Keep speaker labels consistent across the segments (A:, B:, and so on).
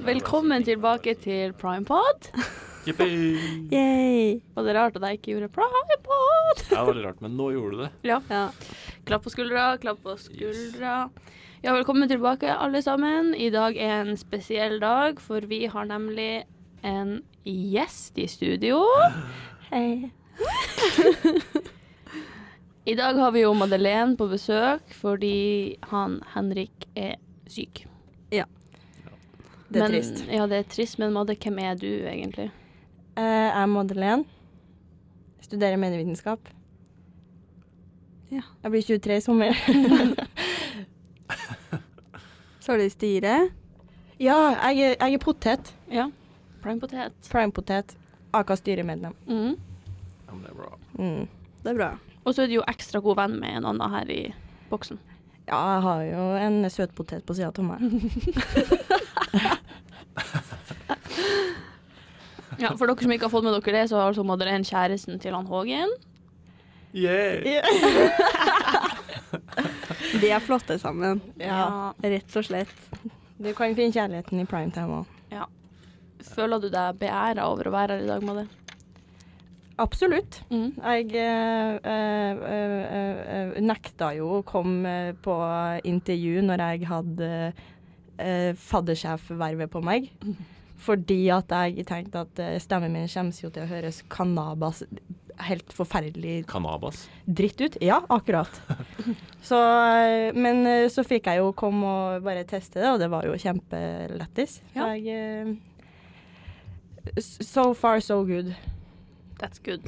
A: Velkommen tilbake til Primepod.
B: Jippi!
C: Yay.
A: Var det rart at jeg ikke gjorde Primepod?
B: Det var veldig rart, men nå gjorde du det.
A: Ja.
C: Ja.
A: Klapp på skuldra, klapp på skuldra. Ja, velkommen tilbake, alle sammen. I dag er en spesiell dag, for vi har nemlig en gjest i studio.
C: Hei.
A: I dag har vi jo Madeleine på besøk fordi han Henrik er syk.
C: Det er
A: men,
C: trist.
A: Ja, det er trist, men Madde, hvem er du egentlig?
C: Eh, Jeg er Madeleine. Studerer medievitenskap.
D: Ja.
C: Jeg blir 23 i sommer.
D: Så har du styret.
C: ja, jeg er, jeg er potet.
A: Ja. Primepotet.
C: Primepotet. Aka styremedlem.
A: Mm.
B: Ja, men det er bra.
C: Mm.
D: Det er bra.
A: Og så er du jo ekstra god venn med en annen her i boksen.
C: Ja, jeg har jo en søtpotet på sida av meg.
A: Ja, For dere som ikke har fått med dere det, så har altså Madeleine kjæresten til han Hågen.
B: Yeah!
D: De er flotte sammen,
C: Ja.
D: rett og slett.
C: Du kan finne kjærligheten i primetime òg.
A: Føler du deg beæra over å være her i dag, Madde?
C: Absolutt.
A: Mm.
C: Jeg eh, eh, eh, eh, nekta jo å komme eh, på intervju når jeg hadde eh, faddersjefvervet på meg. Fordi at jeg tenkte at eh, stemmen min kommer jo til å høres kanabas helt forferdelig
B: Cannabas.
C: dritt ut. Ja, akkurat. Så, eh, men eh, så fikk jeg jo komme og bare teste det, og det var jo kjempelettis.
A: Ja.
C: Jeg, eh, s- so far so good
A: That's good.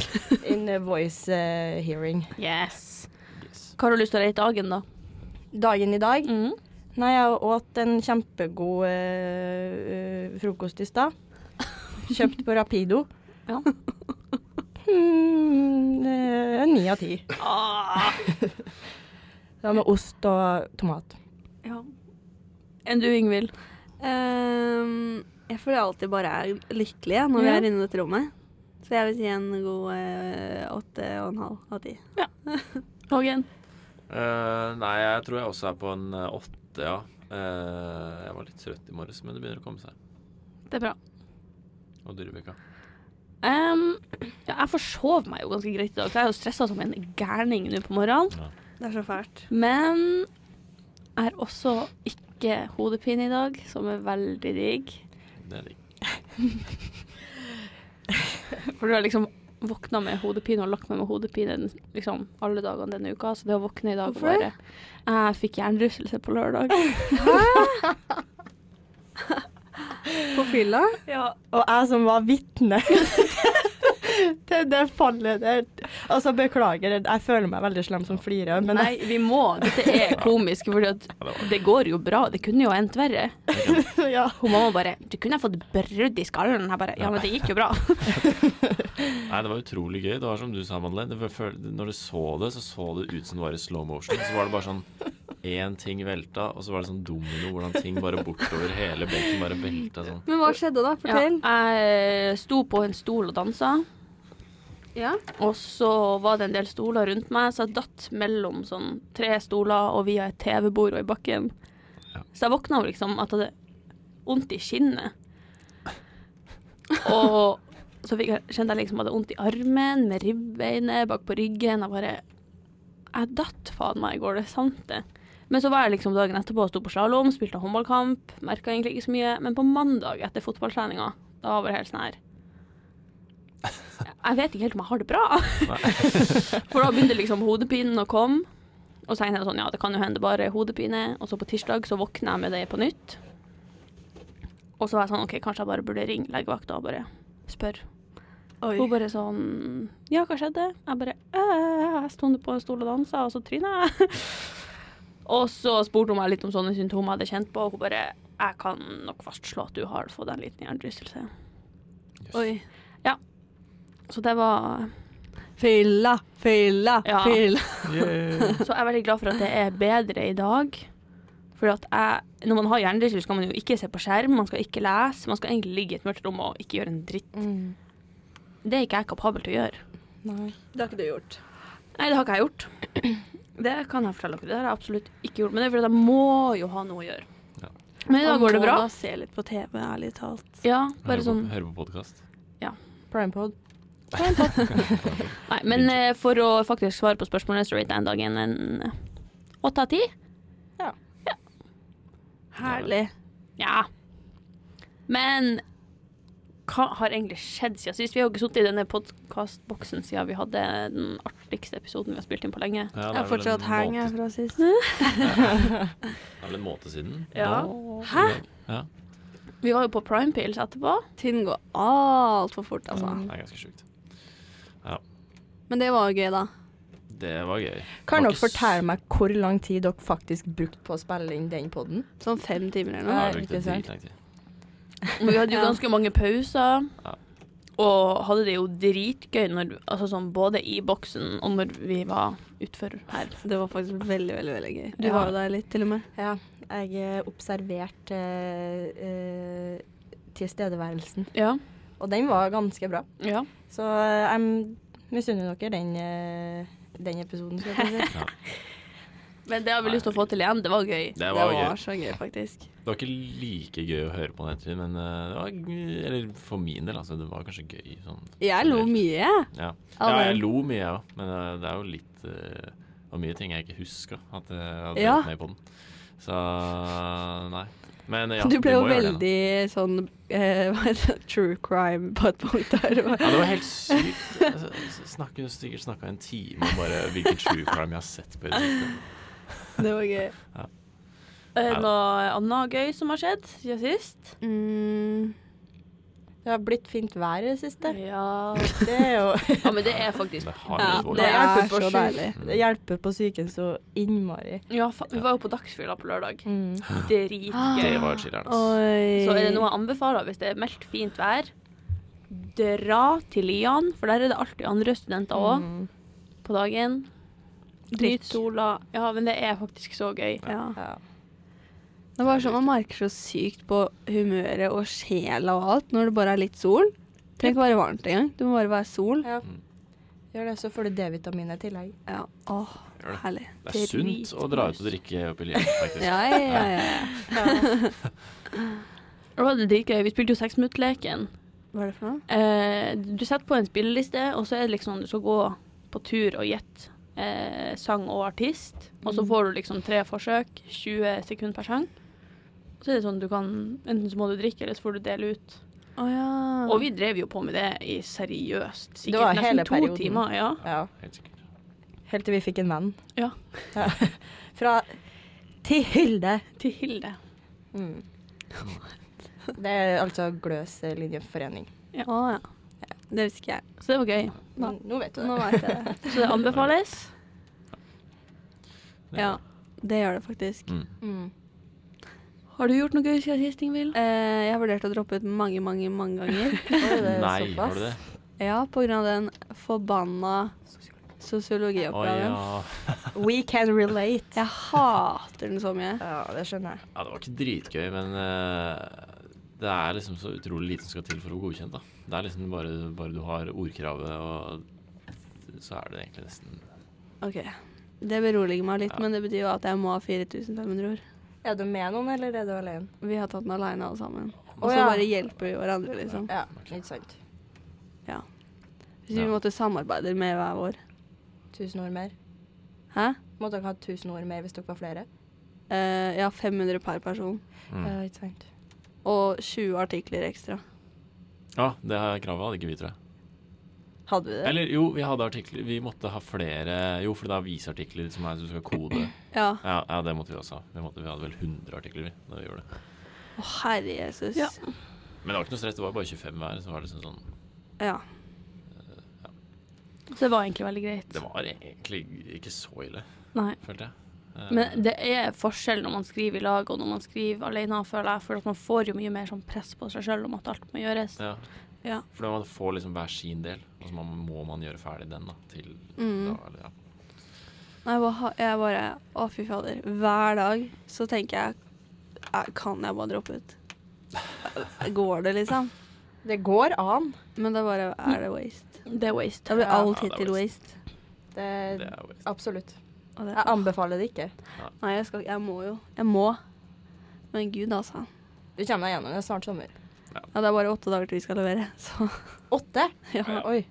C: in a voice eh, hearing.
A: Yes.
B: Yes.
A: Hva har du lyst til å reite dagen, da?
C: Dagen i dag
A: Mm.
C: Nei, jeg åt en kjempegod eh, eh, frokost i stad. Kjøpt på Rapido.
A: Ja.
C: Mm, eh, Ni av ti.
A: Ah.
C: Det var med ost og tomat.
A: Ja. Enn du, Ingvild?
D: Ehm, jeg føler jeg alltid bare er lykkelig jeg, når vi
A: Ja.
D: er inne i dette rommet. Så jeg vil si en god eh, åtte og en halv av ti.
A: Hågen?
B: Eh, nei, jeg tror jeg også er på en eh, åtte, ja. Eh, jeg var litt trøtt i morges, men det begynner å komme seg.
A: Det er bra.
B: Og Dyrevika.
A: Um, ja, jeg forsov meg jo ganske greit i dag, så jeg er jo stressa som en gærning nå på morgenen.
D: Det er så fælt.
A: Men jeg har også ikke hodepine i dag, som er veldig digg.
B: Det er digg.
A: For du har liksom våkna med hodepine og lagt meg med hodepine den- liksom, alle dagene denne uka. Så det å våkne i dag og
D: Hvorfor?
A: bare eh, Jeg fikk hjernerystelse på lørdag.
D: På fylla?
A: ja.
C: Og jeg som var vitne til det fallet der Altså, beklager, jeg føler meg veldig slem som flirer, men
A: Nei, vi må. Dette er komisk, for
B: Ja, det var
A: det går jo bra. Det kunne jo endt verre.
C: ja.
A: Hun mamma bare 'Du kunne ha fått brudd i skallen'. Jeg bare 'Ja, men det gikk jo bra'.
B: Nei, det var utrolig gøy. Det var som du sa, Madeleine. Det var føl- Når du så det, så så det ut som det var i slow motion. Så var det bare sånn én ting velta, og så var det sånn domino hvordan ting bare bortover hele benken bare velta sånn.
D: Men hva skjedde da?
A: Ja,
D: Fortell.
A: jeg sto på en stol og dansa,
D: Ja.
A: og så var det en del stoler rundt meg, så jeg datt mellom sånn tre stoler og via et TV-bord og i bakken.
B: Ja.
A: Så jeg våkna av liksom at jeg hadde vondt i skinnet. Og så fikk jeg, kjente jeg liksom at jeg hadde vondt i armen, med ribbeinet, bak på ryggen. Jeg bare Jeg datt faen meg i går, det er sant, det. Men så var jeg liksom dagen etterpå og sto på slalåm, spilte håndballkamp, merka egentlig ikke så mye. Men på mandag etter fotballtreninga, da var det helt sånn her Jeg vet ikke helt om jeg har det bra. For da begynte liksom hodepinen å komme. Og så tenkte jeg sånn, ja, det kan jo hende bare er hodepine. Og så på tirsdag så våkna jeg med det på nytt. Og så var jeg sånn, ok, kanskje jeg bare burde ringe legevakta og bare spørre.
D: Oi.
A: Hun bare sånn, ja, hva skjedde? Jeg bare, øh, jeg stod på en stol og dansa, og så tryna jeg. og så spurte hun meg litt om sånne symptomer jeg hadde kjent på, og hun bare, jeg kan nok fastslå at du har fått en liten hjernerystelse.
D: Oi.
A: Så det var,
D: Fylla, fylla,
A: Ja.
D: fylla.
A: Så jeg er veldig glad for at det er bedre i dag. For at jeg, når man har hjernerystelse, skal man jo ikke se på skjerm, man skal ikke lese. Man skal egentlig ligge i et mørkt rom og ikke gjøre en dritt.
C: Mm.
A: Det er ikke jeg kapabel til å gjøre.
C: Nei.
D: Det har ikke du gjort.
A: Nei, det har ikke jeg gjort. Det kan jeg fortelle dere. Det har jeg absolutt ikke gjort. Men det er fordi at jeg må jo ha noe å gjøre.
B: Ja.
A: Men i dag går det bra.
D: Må da se litt på TV, ærlig talt.
A: Ja, bare
B: Høre
A: sånn
B: på, høre på podkast.
C: Primepod.
A: Nei, men eh, for å faktisk svare på spørsmålene, så rater jeg en dag en en eh, åtte av ti.
D: Herlig.
A: Ja. Men hva har egentlig skjedd siden sist? Vi har jo ikke sittet i denne podkastboksen siden vi hadde den artigste episoden vi har spilt inn på lenge.
B: Ja,
D: Jeg har fortsatt hang jeg, fra sist.
B: Det er vel en måte siden?
A: Ja.
B: Nå-
D: Hæ?
B: Ja,
A: Vi var jo på Prime Pills etterpå.
D: Tiden går altfor fort, altså.
C: Mm.
B: det er ganske sjukt.
D: Men det var jo gøy, da.
B: Det var gøy. Var
C: Kan dere
B: ikke s-
C: fortelle meg hvor lang tid dere faktisk brukte på å spille inn den poden?
D: Sånn fem timer eller noe.
B: Nå
C: Nei,
B: har vi ikke
C: ikke sant.
B: dritlang tid.
A: Men vi hadde jo
D: Ja.
A: ganske mange pauser.
B: Ja.
A: Og hadde det jo dritgøy når, altså sånn, både i boksen og når vi var utfor her.
D: Det var faktisk veldig, veldig veldig gøy. Du
A: Ja.
D: var jo der litt, til og med.
C: Ja, jeg eh, observerte eh, eh, tilstedeværelsen,
A: Ja.
C: og den var ganske bra.
A: ja.
C: Så eh, jeg misunner dere den, eh, den episoden, skal jeg si.
A: Men det har vi lyst til å få til igjen. Det var gøy.
B: Det var,
D: det
B: gøy.
D: var så gøy, faktisk.
B: Det var ikke like gøy å høre på den ettertid, men eh, det var gøy- Eller for min del, altså. Det var kanskje gøy sånn.
D: Jeg lo
B: generelt.
D: mye, jeg.
B: Ja.
D: Av
B: ja,
D: den.
B: jeg lo mye, jeg ja. òg. Men eh, det er jo litt eh, Det var mye ting jeg ikke husker at jeg hadde
D: Ja.
B: vært med på den. Så nei. Men eh, ja,
D: du
B: vi
D: ble jo
B: må gjøre det nå.
D: veldig sånn eh, hva heter det, true crime på et punkt der. Det var-
B: Ja, det var helt sykt. Altså, snakker, sikkert snakka en time om bare hvilken true crime jeg har sett på i det siste.
D: Det var gøy.
A: Eh, Noe annet gøy som har skjedd siden sist?
D: Mm,
C: Det har blitt fint vær i det siste.
A: Ja.
C: Det er jo
A: ja, men det er faktisk
B: Det har
D: Ja,
B: blitt vold.
C: Det
D: er
C: hjelper på
D: så
C: sjuk-
D: deilig.
B: Mm.
C: Det hjelper på psyken så innmari.
A: Ja, fa vi var jo på Dagsfylla på lørdag.
C: Mm.
A: Dritgøy.
B: Ah. Det var chiller'n. ass.
D: Oi.
A: Så er det noe jeg anbefaler hvis det er meldt fint vær. Dra til Lian, for der er det alltid andre studenter òg
C: Mm.
A: på dagen. Nyt sola. Ja, men det er faktisk så gøy.
D: Ja.
C: Ja.
D: Det var sånn, Man merker så sykt på humøret og sjela og alt når det bare er litt sol. Det trenger ikke være varmt engang. Det må bare være sol.
C: ja.
B: Mm.
C: Gjør det, så får du D-vitamin i tillegg.
D: Ja. Åh,
B: Gjør det.
D: herlig.
B: Det er sunt å dra ut og drikke opp i Lian, faktisk.
D: Ja, ja, ja. ja.
A: Det var det dritgøy. Vi spilte jo Seksminuttleken.
D: Hva er det for noe?
A: Eh, du setter på en spilleliste, og så er det liksom du skal gå på tur og gjette eh, sang og artist. Og så
C: Mm.
A: får du liksom tre forsøk, 20 sekunder per sang. Så er det sånn du kan Enten så må du drikke, eller så får du dele ut.
D: Å ja.
A: Og vi drev jo på med det i seriøst sikkert
C: var
A: nesten
C: hele
A: to
C: perioden.
A: timer. Ja.
C: Ja.
B: Helt sikkert.
C: Helt til vi fikk en venn.
A: Ja.
C: Ja. Fra til Hilde.
A: Til Hilde.
C: Mm. Det er altså Gløs linjeforening.
D: Å ja. Det visste ikke jeg.
A: Så det var gøy.
C: Men nå vet du det.
D: Nå vet jeg det.
A: Så det anbefales.
B: Det er
D: Ja,
B: bra.
D: det gjør det faktisk.
B: Mm.
C: Mm.
A: Har du gjort noe gøy siden sist, Ingvild?
D: Eh, jeg har vurdert å droppe ut mange, mange, mange ganger.
C: Oi, det er
B: Nei,
C: såpass.
B: har du det?
D: Ja, på grunn av den forbanna
B: Å
D: sosiologioppgaven.
B: ja.
C: We can relate.
D: Jeg hater den så mye.
C: Ja, det skjønner jeg.
B: Ja, det var ikke dritgøy, men eh, det er liksom så utrolig lite som skal til for å bli godkjent, da. Det er liksom bare, bare du har ordkravet, og så er det egentlig nesten
D: Ok, Det beroliger meg litt,
B: Ja.
D: men det betyr jo at jeg må ha 4500 ord.
C: Er du med noen, eller er du alene?
D: Vi har tatt den alene alle sammen. Og
C: Å,
D: så
C: ja.
D: bare hjelper vi hverandre, liksom.
C: Ja,
B: sånn. Ok.
C: ikke sant.
D: Hvis vi
B: Ja.
D: måtte samarbeide med hver vår.
C: Tusen ord mer.
D: Hæ?
C: Måtte dere ha tusen ord mer hvis dere var flere?
D: Eh, ja, 500 per person.
B: mm.
C: Ja, ikke sant.
D: Og 20 artikler ekstra.
B: Ja, det her kravet hadde ikke vi, tror jeg.
C: Hadde vi det?
B: Eller jo, vi hadde artikler Vi måtte ha flere Jo, for det er avisartikler som er som skal kode.
D: Ja.
B: Ja, ja det måtte vi også ha. Vi, måtte, vi hadde vel 100 artikler vi, da vi gjorde det.
D: Å, herre Jesus.
A: Ja.
B: Men det var ikke noe stress, det var bare 25 hver. Så var det liksom sånn
D: Ja.
A: Så det var egentlig veldig greit.
B: Det var egentlig ikke så ille,
A: Nei.
B: følte jeg. Eh,
A: Men det er forskjell når man skriver i lag og når man skriver alene, føler jeg. For at man får jo mye mer sånn press på seg sjøl om at alt må gjøres.
B: ja.
D: Ja.
B: For man får liksom hver sin del, og så må man- må man gjøre ferdig den da, til
D: Mm.
B: da. Eller, ja.
D: Nei, jeg bare- jeg bare Å, fy fader. Hver dag så tenker jeg "Eh, Kan jeg bare droppe ut? Går det, liksom?
C: Det går an.
D: Men da bare er det waste.
A: Det er waste.
D: Da blir
C: Ja,
D: alt
B: det er
D: hittil waste.
C: Det,
B: Det er jo
C: absolutt.
D: Og det
C: Jeg anbefaler det ikke.
D: Nei, jeg skal ikke Jeg må jo. Jeg må. Men gud, altså.
C: Du kommer deg gjennom det er snart sommer.
D: Ja, det er bare åtte dager til vi skal levere, så
C: Åtte?
D: ja.
C: Oi.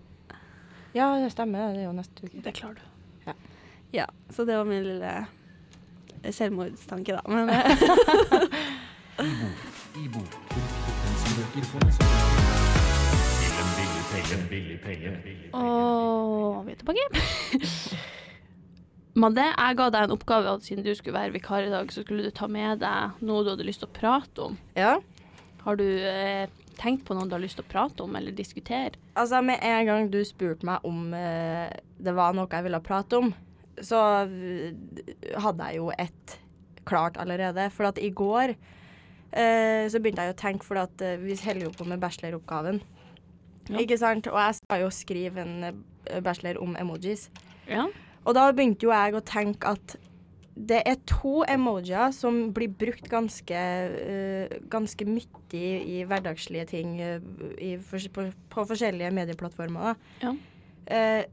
C: Ja, det stemmer. Det er jo neste uke.
A: Det klarer du.
D: ja. Så det var min lille selvmordstanke, da. Men eh,
E: Ibo. Pensumsbøker for pensum.
A: Og vi er tilbake. Madde, jeg ga deg en oppgave at siden du skulle være vikar i dag, så skulle du ta med deg noe du hadde lyst til å prate om.
C: Ja.
A: Har du eh, tenkt på noe du har lyst til å prate om eller diskutere?
C: Altså, med en gang du spurte meg om eh, det var noe jeg ville prate om, så eh, hadde jeg jo ett klart allerede. For at i går eh, så begynte jeg å tenke, for at eh, vi holder jo på med bacheloroppgaven.
A: Ja.
C: Ikke sant? Og jeg skal jo skrive en eh, bachelor om emojis.
A: Ja.
C: Og da begynte jo jeg å tenke at det er to emojier som blir brukt ganske, eh, ganske mye i, i hverdagslige ting eh, i, fors- på, på forskjellige medieplattformer. Da.
A: Ja.
C: Eh,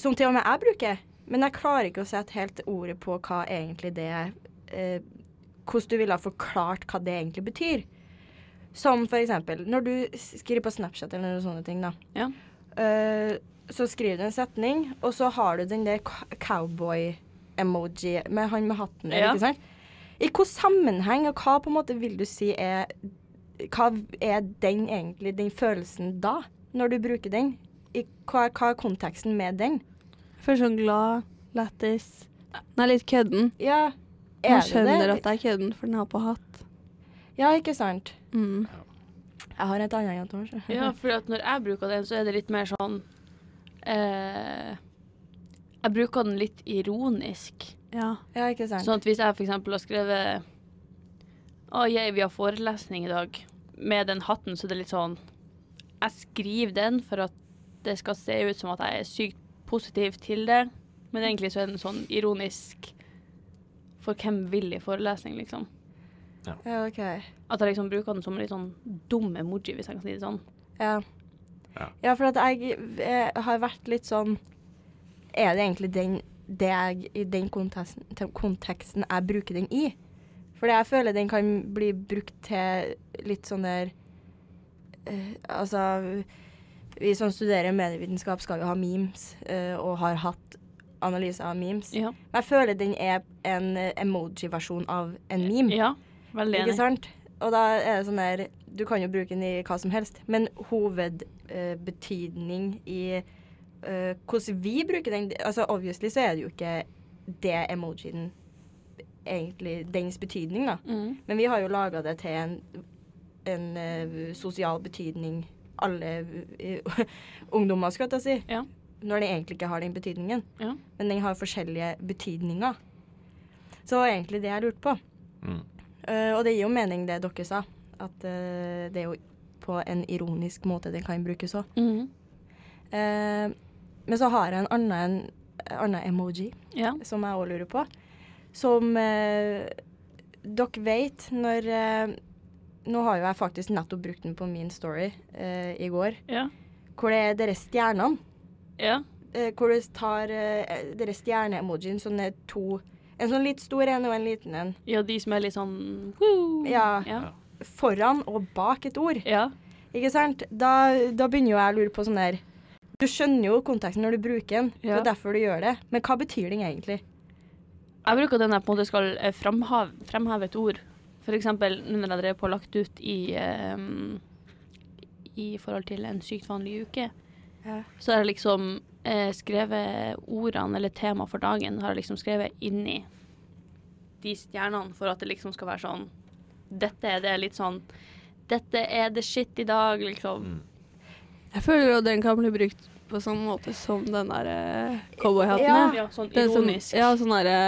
C: som til og med jeg bruker, men jeg klarer ikke å sette helt ordet på hva egentlig det eh, Hvordan du ville ha forklart hva det egentlig betyr. Som for eksempel når du skriver på Snapchat eller noen sånne ting, da.
A: Ja.
C: Eh, så skriver du en setning, og så har du den der co- cowboy-emoji med han med hatten der,
A: Ja.
C: ikke sant? I hvilken sammenheng, og hva på en måte vil du si er Hva er den egentlig, den følelsen da, når du bruker den? I, hva, hva er konteksten med den?
D: først sånn glad, lættis Nei, litt kødden.
C: Ja, er
D: Man skjønner
C: det
D: at det er kødden, for den har på hatt.
C: Ja, ikke sant?
D: Mm.
C: Jeg har et annet jente også.
A: Ja, for at når jeg bruker den, så er det litt mer sånn eh, Jeg bruker den litt ironisk.
D: Ja.
C: ja, ikke sant?
A: Sånn at hvis jeg for eksempel har skrevet Å, jeg, vi har forelesning i dag med den hatten, så det er litt sånn Jeg skriver den for at det skal se ut som at jeg er sykt positiv til det, men egentlig så er den sånn ironisk for hvem vil i forelesning, liksom.
C: Ja, OK.
A: At jeg liksom bruker den som en litt sånn dum emoji, hvis jeg kan si det sånn.
C: Ja.
B: Ja.
C: ja, for at jeg, eh, har vært litt sånn Er det egentlig den, det jeg, i den konteksten, te- konteksten jeg bruker den i? For jeg føler den kan bli brukt til litt sånn der eh, Altså Vi som studerer medievitenskap, skal jo ha memes, eh, og har hatt analyser av memes.
A: Ja.
C: Men jeg føler den er en eh, emoji-versjon av en meme.
A: ja veldig
C: Ikke
A: enig.
C: sant? Og da er det sånn der Du kan jo bruke den i hva som helst, men hovedbetydning i eh, hvordan vi bruker den Altså obviously så er det jo ikke det emojien egentlig Dens betydning, da.
A: Mm.
C: Men vi har jo laga det til en, en eh, sosial betydning alle eh, ungdommer, skal jeg til å si.
A: Ja.
C: Når den egentlig ikke har den betydningen.
A: Ja.
C: Men den har forskjellige betydninger. Så det var egentlig det jeg lurte på.
B: Mm.
C: Eh, og det gir jo mening det dere sa, at eh, det er jo på en ironisk måte den kan brukes òg.
A: Mm.
C: men så har jeg en annen, en annen emoji
A: Ja.
C: som jeg òg lurer på. Som eh, dere vet når eh, Nå har jo jeg faktisk nettopp brukt den på min story eh, i går.
A: Ja.
C: Hvor det er dere stjernene.
A: Ja.
C: Eh, hvor du tar eh, dere stjerne-emojien, sånn er to En sånn litt stor en og en liten en.
A: ja, de som er litt sånn woo.
C: Ja.
A: Ja.
C: Foran og bak et ord.
A: ja.
C: Ikke sant? Da, da begynner jo jeg å lure på sånn der Du skjønner jo konteksten når du bruker den, det
A: Ja.
C: er derfor du gjør det. Men hva betyr den egentlig?
A: Jeg bruker den jeg på en måte skal eh, framhav, fremheve et ord. For eksempel nå når jeg drev på og lagt ut i eh, I forhold til en sykt vanlig uke,
C: Ja.
A: så har jeg liksom eh, skrevet ordene eller tema for dagen har jeg liksom skrevet inni de stjernene for at det liksom skal være sånn Dette er det litt sånn Dette er det shit i dag, liksom.
B: Mm.
D: Jeg føler jo den kan bli brukt på sånn måte som den der eh, cowboyhatten.
C: Ja.
D: er.
A: Ja, sånn
D: Den som,
A: ironisk.
D: ja, sånn derre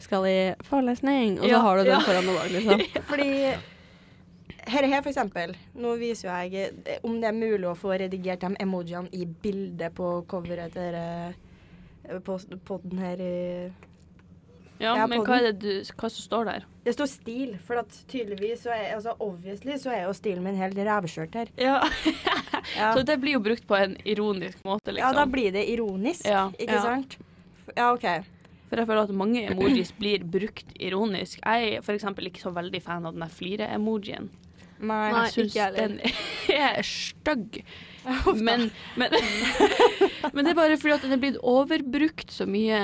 D: skal i forelesning, og så
A: Ja,
D: har du den
A: ja.
D: foran og bak, liksom.
C: Fordi her, her for eksempel, nå viser jo jeg eh, om det er mulig å få redigert de emojiene i bildet på coveret til eh, på podden her eh, i
A: ja,
C: Ja,
A: men
C: på
A: hva er det du Hva som står der?
C: Det står stil, for at tydeligvis så er altså obviously så er jo stilen min helt rævskjørt her.
A: Ja.
C: Ja.
A: Så det blir jo brukt på en ironisk måte, liksom.
C: ja, da blir det ironisk,
A: Ja.
C: ikke
D: Ja.
C: sant? Ja, OK.
A: For jeg føler at mange emojis blir brukt ironisk. Jeg er for eksempel ikke så veldig fan av den der flire-emojien.
C: Nei.
D: Nei.
A: Jeg syns
D: ikke jeg
A: den er stygg. Men, men, men det er bare fordi at den er blitt overbrukt så mye.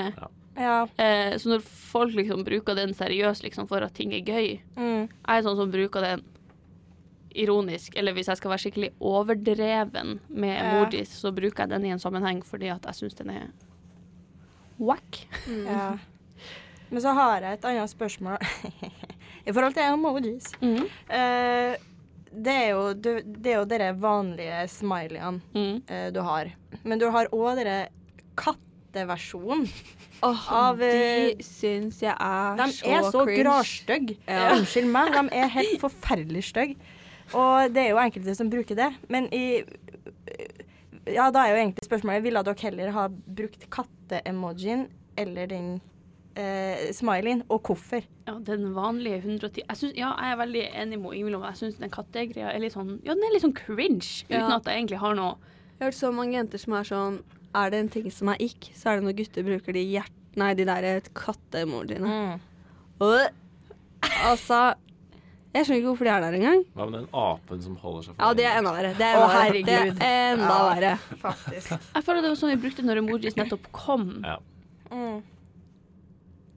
C: Ja.
A: Eh, så når folk liksom bruker den seriøst liksom, for at ting er gøy,
C: Mm.
A: jeg er sånn som bruker den ironisk, eller hvis jeg skal være skikkelig overdreven med
C: Ja.
A: emojis, så bruker jeg den i en sammenheng fordi at jeg syns den er wack.
C: ja. Men så har jeg et annet spørsmål i forhold til emojis. Eh, det er jo, du, det er jo dere vanlige smileyene
A: Mm.
C: eh, du har. Men du har òg dere katteversjonen.
D: Åh,
C: Av, eh,
D: de syns jeg er
C: De
D: så
C: er så
D: cringe.
C: gravstygge. Eh,
D: Ja.
C: Unnskyld meg, de er helt forferdelig stygge. Og det er jo enkelte som bruker det. Men i Ja, da er jo egentlig spørsmålet Ville dere heller ha brukt katte-emojien eller den eh, smileyen, og hvorfor?
A: Ja, den vanlige 110 jeg synes, Ja, jeg er veldig enig med Ingvild om Jeg syns den kattegreia er litt sånn Ja, den er litt sånn cringe, uten
D: Ja.
A: at jeg egentlig har noe
D: Jeg har hørt så mange jenter som er sånn Er det en ting som er ikk, så er det når gutter bruker de hjert... Nei, de der eh, katteemojiene. Øh. Altså Jeg skjønner ikke hvorfor de er der engang.
B: Hva med den apen som holder seg for
D: Ja, det er enda verre. Det er
C: Å,
D: enda verre. Det
C: herregud.
D: er enda
C: Ja.
D: verre.
C: Faktisk.
A: Jeg føler det var sånn vi brukte når emojis nettopp kom.
B: Ja.
C: Mm. Eh,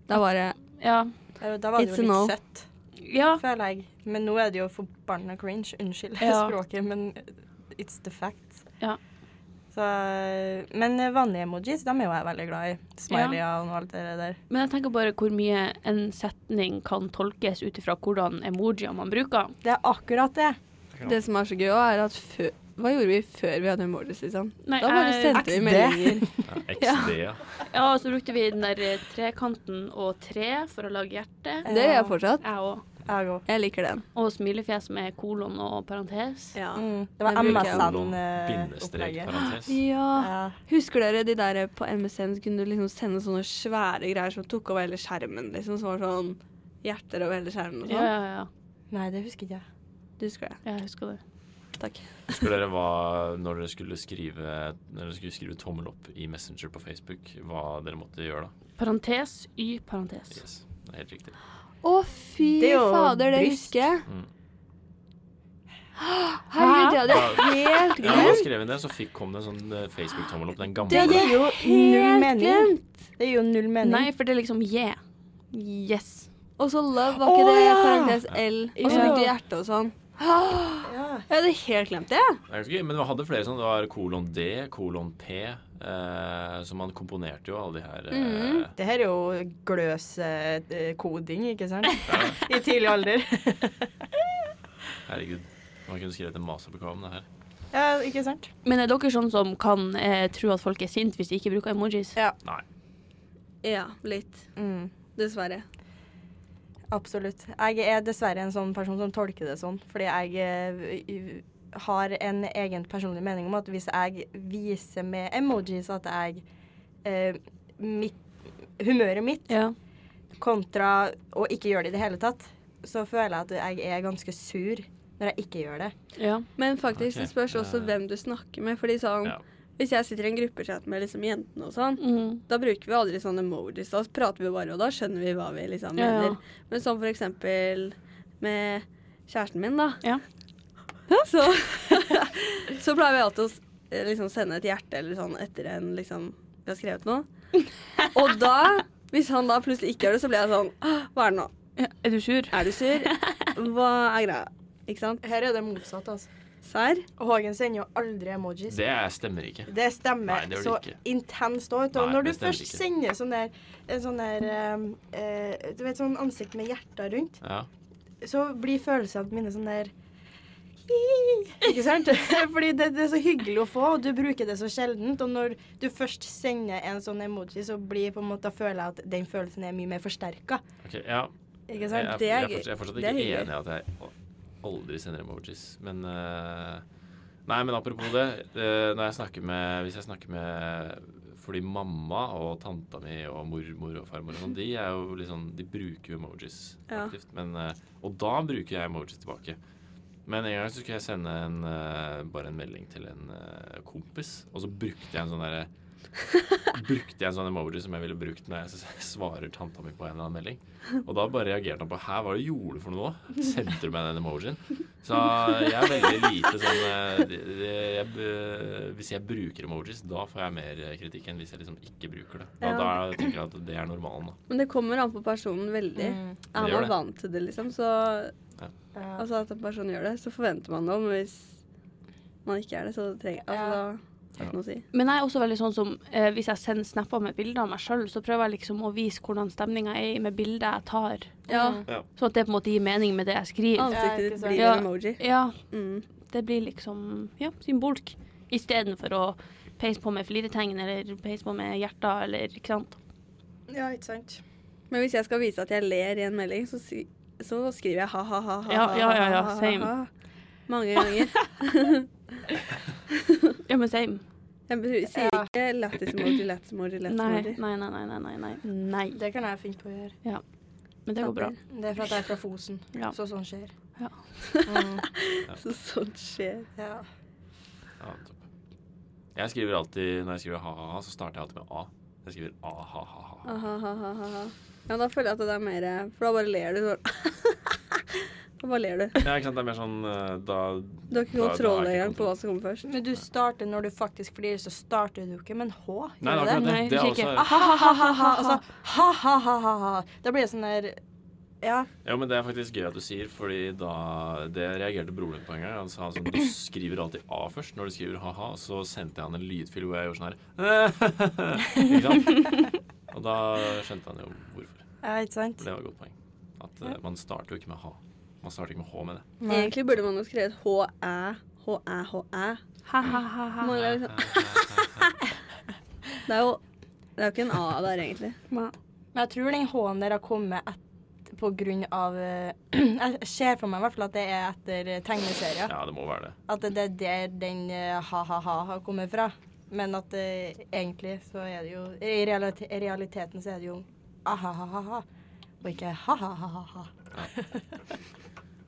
D: Det er bare
A: Ja.
C: Da da var det
D: It's
C: jo
D: a no.
C: litt søtt,
A: ja.
C: føler jeg. Men nå er det jo forbanna cringe. Unnskyld
A: Ja.
C: språket, men it's the fact.
A: Ja.
C: Så, men vanlige emojis, dem er jo jeg veldig glad i. Smileyer og alt det der.
A: Men jeg tenker bare hvor mye en setning kan tolkes ut ifra hvordan emojier man bruker.
C: Det er akkurat det.
D: Det som er så gøy, også, er at før Hva gjorde vi før vi hadde emojis, liksom?
A: Nei,
D: Da bare
A: jeg-
D: sendte vi
C: XD.
D: meldinger.
B: Ja, XD, ja.
A: Ja, så brukte vi den der eh, trekanten og tre for å lage hjerte.
D: Det gjør jeg fortsatt.
A: Jeg òg.
C: Jeg òg.
D: Jeg liker den.
A: Og smilefjes med kolon og parentes.
D: Ja.
C: Mm. Det
D: Det
C: var
D: bruker jeg.
B: Kolon, Bindestrek,
C: MSN-opplegget.
B: parentes.
D: eh, ja.
C: Ja.
D: Husker dere de der på MSN så kunne du liksom sende sånne svære greier som tok over hele skjermen, liksom? Som var sånn hjerter over hele skjermen og
A: Ja,
D: sånn?
A: ja, ja.
C: Nei, det husker ikke jeg.
D: Du husker det?
A: Jeg husker det.
D: Takk.
B: Husker dere hva, når dere skulle skrive Når dere skulle skrive tommel opp i Messenger på Facebook, hva dere måtte gjøre da?
A: Parentes y parentes.
B: Yes, det er helt riktig.
D: Å, fy
C: Det er jo
D: fader, det
C: bryst.
D: husker jeg.
B: Mm.
D: Herregud, det hadde jeg helt
B: Ja, da
D: glemt.
B: skrev inn det, så fikk, kom det en sånn eh, Facebook-tommel opp. Den gamle.
C: Det gir jo null
D: Helt
C: mening.
D: glemt.
C: Det gir jo null mening.
A: Nei, for det er liksom yeah. Yes.
D: Og så love, var ikke
C: Å,
D: det
C: ja.
D: parentes L? Og så
C: Ja.
D: fikk du hjerte og sånn.
C: Ja.
D: Jeg hadde helt glemt det.
B: Det er ganske gøy, men vi hadde flere sånn. Det var kolon D, kolon P. Eh, så man komponerte jo alle de her eh,
C: Det her er jo gløskoding, ikke sant? I tidlig alder.
B: Herregud. Man kunne skrevet en masteroppgave om det her.
C: Ja, ikke sant?
A: Men er dere sånn som kan eh, tro at folk er sint hvis de ikke bruker emojis?
B: Nei.
D: Ja, litt.
C: Mm.
D: Dessverre.
C: Absolutt. Jeg er dessverre en sånn person som tolker det sånn, fordi jeg eh, har en egen personlig mening om at hvis jeg viser med emojis at jeg eh, mitt, Humøret mitt
A: Ja.
C: kontra å ikke gjøre det i det hele tatt, så føler jeg at jeg er ganske sur når jeg ikke gjør det.
A: ja.
D: Men faktisk, det
B: Ok.
D: spørs også
B: Eh.
D: hvem du snakker med. Fordi sånn,
B: Ja.
D: Hvis jeg sitter i en gruppechat med liksom jentene og sånn,
A: Mm.
D: da bruker vi aldri sånne emojis. Da prater vi bare, og da skjønner vi hva vi liksom
A: Ja, ja.
D: mener. Men sånn for eksempel med kjæresten min, da.
A: Ja.
D: Så, så pleier vi alltid å s- eh, liksom sende et hjerte eller sånn etter en liksom vi har skrevet noe. Og da, hvis han da plutselig ikke gjør det, så blir jeg sånn «Åh, Hva er det nå?
A: Er du sur?
D: Er du sur? Hva er greia? Ikke sant?
C: Her er det motsatt, altså.
D: Serr?
C: Hågen sender jo aldri emojis.
B: Det er- stemmer ikke.
C: Det stemmer
B: Nei, det gjør det
C: så
B: ikke.
C: intenst òg.
B: Nei,
C: Når du
B: det stemmer
C: først
B: ikke.
C: sender sånn der, eh, sånn der eh, eh, Du vet sånn ansikt med hjerter rundt,
B: Ja.
C: så blir følelsene mine sånn der Ikke sant? Fordi det, det er så hyggelig å få, og du bruker det så sjeldent. Og når du først sender en sånn emoji, så blir på en måte, da føler jeg at den følelsen er mye mer forsterka.
B: Ok, ja.
C: Ikke
B: Jeg,
C: sant?
B: er-
D: Det er
B: jeg, er
D: gøy.
B: fortsatt, jeg er fortsatt
D: Det er
B: ikke
D: hyggelig.
B: enig i at jeg al- aldri sender emojis, men eh, Nei, men apropos det. eh, når jeg snakker med, hvis jeg snakker med Fordi mamma og tanta mi og mormor og farmor og sånn, de er jo liksom De bruker jo emojis
D: Ja.
B: aktivt. Men, eh, og da bruker jeg emojis tilbake. Men en gang så skulle jeg sende en, eh, bare en melding til en eh, kompis, og så brukte jeg en sånn derre brukte jeg en sånn emoji som jeg ville brukt når jeg s- svarer tanta mi på en eller annen melding. Og da bare reagerte han på Hæ, hva er det du gjorde for noe nå? Sendte du meg den emojien? Så jeg er veldig lite sånn eh, det- det- jeg, b- Hvis jeg bruker emojis, da får jeg mer eh, kritikk enn hvis jeg liksom ikke bruker det. Da,
D: Ja.
B: da tenker jeg at det er normalen, da.
D: Men det kommer an på personen veldig.
A: Mm.
D: Er
B: gjør det.
D: man vant til det, liksom, så
C: Ja.
D: Altså at en person gjør det, så forventer man det, men hvis man ikke er det, så trenger Altså da har det ikke noe å si.
A: Men jeg er også veldig sånn som eh, hvis jeg sender snapper med bilder av meg sjøl, så prøver jeg liksom å vise hvordan stemninga er med bildet jeg tar.
D: Ja.
C: Mm.
A: Sånn at det på en måte gir mening med det jeg skriver.
C: Ja,
D: Ansiktet
C: ikke
D: ditt
C: sant.
D: blir
A: Ja.
D: en emoji.
A: Ja,
D: Mm.
A: det blir liksom ja, symbolsk. Istedenfor å peise på med fliretegn eller peise på med hjerter eller ikke sant.
C: ja, ikke sant.
D: Men hvis jeg skal vise at jeg ler i en melding, så, si, så skriver jeg ha-ha-ha.
A: Ja, ja, ja, ja, same.
D: Mange ganger.
A: Ja, men same.
D: Jeg br- sier ikke lættis-emoji, lættis-emoji,
A: Nei,
D: lættis-emoji.
A: nei, nei, nei, nei, nei, nei. Nei.
C: Det kan jeg finne på å gjøre.
A: Men det går bra.
C: Det er for at jeg er fra Fosen,
A: Ja.
C: så sånn skjer.
A: Ja.
C: Mm,
D: Så sånt skjer.
C: ja.
B: Ja, topp. Jeg skriver alltid, Når jeg skriver ha-ha, så starter jeg alltid med a. Jeg skriver a-ha-ha-ha.
D: Ha-ha-ha-ha. Ja, da føler jeg at det er mer For da bare ler du. Så da bare ler du.
B: Ja, ikke sant. Det er mer sånn eh, da
D: Du har ikke
B: Da- da er
D: kontroll
B: ikke
D: engang på hva
B: kontroll.
D: som kommer først.
C: Men du starter når du faktisk flirer, så starter du ikke med en H. gjør
B: Nei, det er
C: du
B: akkurat det.
A: Nei,
B: Det er
A: ikke.
B: også
C: Ha-ha-ha-ha. Altså, ha-ha-ha-ha. Da blir det sånn der Ja.
B: Ja, men det er faktisk gøy at du sier, fordi da Det reagerte broren min på en gang. Han sa sånn Du skriver alltid A først når du skriver ha-ha. og Så sendte jeg han en lydfil hvor jeg gjorde sånn her Ikke sant? Og da skjønte han jo hvorfor.
C: ja ikke sant?
B: Det var et godt poeng. At eh, man starter jo ikke med ha. Man starter ikke med h med det.
D: Egentlig burde man jo skrevet H-æ, H-æ, H-æ.
A: Ha-ha-ha.
D: Man er liksom- Det er jo Det er jo ikke en A der, egentlig.
C: Men jeg tror den H-en der har kommet et, på grunn av eh, Jeg ser for meg i hvert fall at det er etter eh, tegneserier.
B: Ja, det må være det.
C: At det er der den eh, ha-ha-ha har kommet fra. Men at eh, egentlig så er det jo I realite- i realiteten så er det jo ah-ha-ha-ha. Og ikke ha-ha-ha-ha.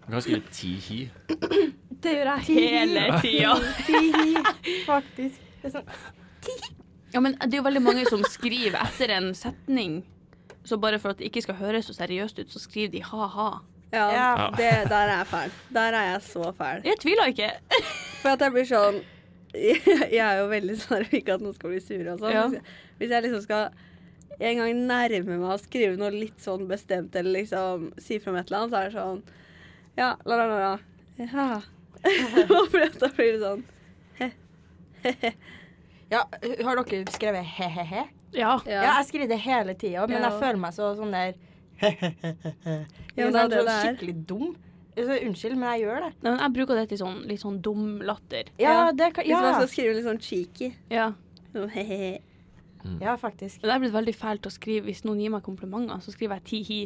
B: Du kan skrive ti-hi.
C: Det gjør jeg
A: Hele tida.
C: Faktisk. Det er sånn
A: Ja, men det er jo veldig mange som skriver etter en setning. Så bare for at det ikke skal høres så seriøst ut, så skriver de ha-ha.
D: Ja,
C: Ja.
D: Det, der er jeg fæl. Der er jeg så fæl.
A: Jeg tviler ikke.
D: For at jeg blir sånn Jeg er jo veldig sånn at jeg vil ikke at noen skal bli sure og sånn.
A: Ja.
D: Hvis, jeg- hvis jeg liksom skal en gang nærme meg å skrive noe litt sånn bestemt eller liksom si fra om et eller annet, så er det sånn Ja, la, la, la, la. Ja. Og for at da blir det sånn
C: Ja, har dere skrevet he-he-he?
A: Ja.
C: Ja. jeg skriver det hele tida, men
D: Ja.
C: jeg føler meg så sånn der
D: Ja, men
C: Jeg
D: det er det
C: er sånn
D: det er.
C: skikkelig dum. Altså, unnskyld, men jeg gjør det.
A: Nei, men jeg bruker det til sånn litt sånn dum latter.
C: Ja,
D: Ja.
C: det kan,
D: Hvis man
C: ja.
D: skal skrive litt sånn cheeky
A: Ja.
D: sånn he-he-he.
C: ja, faktisk.
A: Men det er blitt veldig fælt å skrive hvis noen gir meg komplimenter, så skriver jeg ti-hi.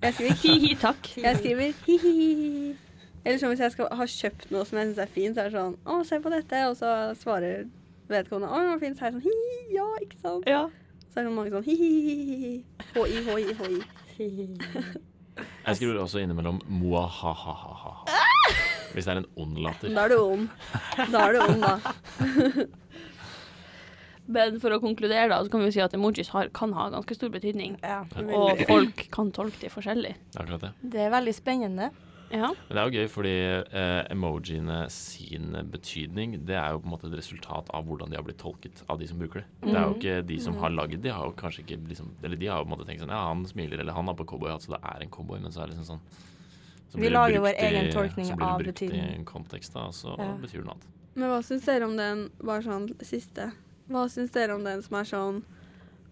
D: Jeg skriver ikke
A: Ti-hi, takk.
D: Jeg skriver hi-hi-hi. Eller sånn hvis jeg skal ha kjøpt noe som jeg syns er fint, så er det sånn Å, se på dette. Og så svarer vedkommende Å, det var fint. Så er jeg sånn hi, ja, ikke sant.
A: Ja.
D: Så er det mange sånn hi-hi-hi. Hoi, hoi, hoi.
B: Jeg skriver også innimellom moa-ha-ha-ha. Hvis det er en ond latter.
D: Da er du om. Da er du om, da.
A: Men for å konkludere, da, så kan vi jo si at emojis har, kan ha ganske stor betydning.
C: Ja.
A: Og folk kan tolke det forskjellig.
B: Det er akkurat det.
C: Det er veldig spennende.
A: Ja.
B: Men det er jo gøy, fordi eh, emojiene sin betydning, det er jo på en måte et resultat av hvordan de har blitt tolket av de som bruker det. Det
C: Mm.
B: er jo ikke de som har lagd de, har jo kanskje ikke liksom Eller de har jo på en måte tenkt sånn Ja, han smiler, eller han har på cowboyhatt, så det er en cowboy, men så er det liksom sånn så
C: Vi
B: blir det
C: lager
B: brukt
C: vår egen
B: i-
C: tolkning
B: så blir det
C: av
B: brukt
C: betydning.
B: I en kontekst, da, og så
C: Ja.
B: betyr det noe annet.
D: Men hva syns dere om den bare sånn siste? Hva syns dere om den som er sånn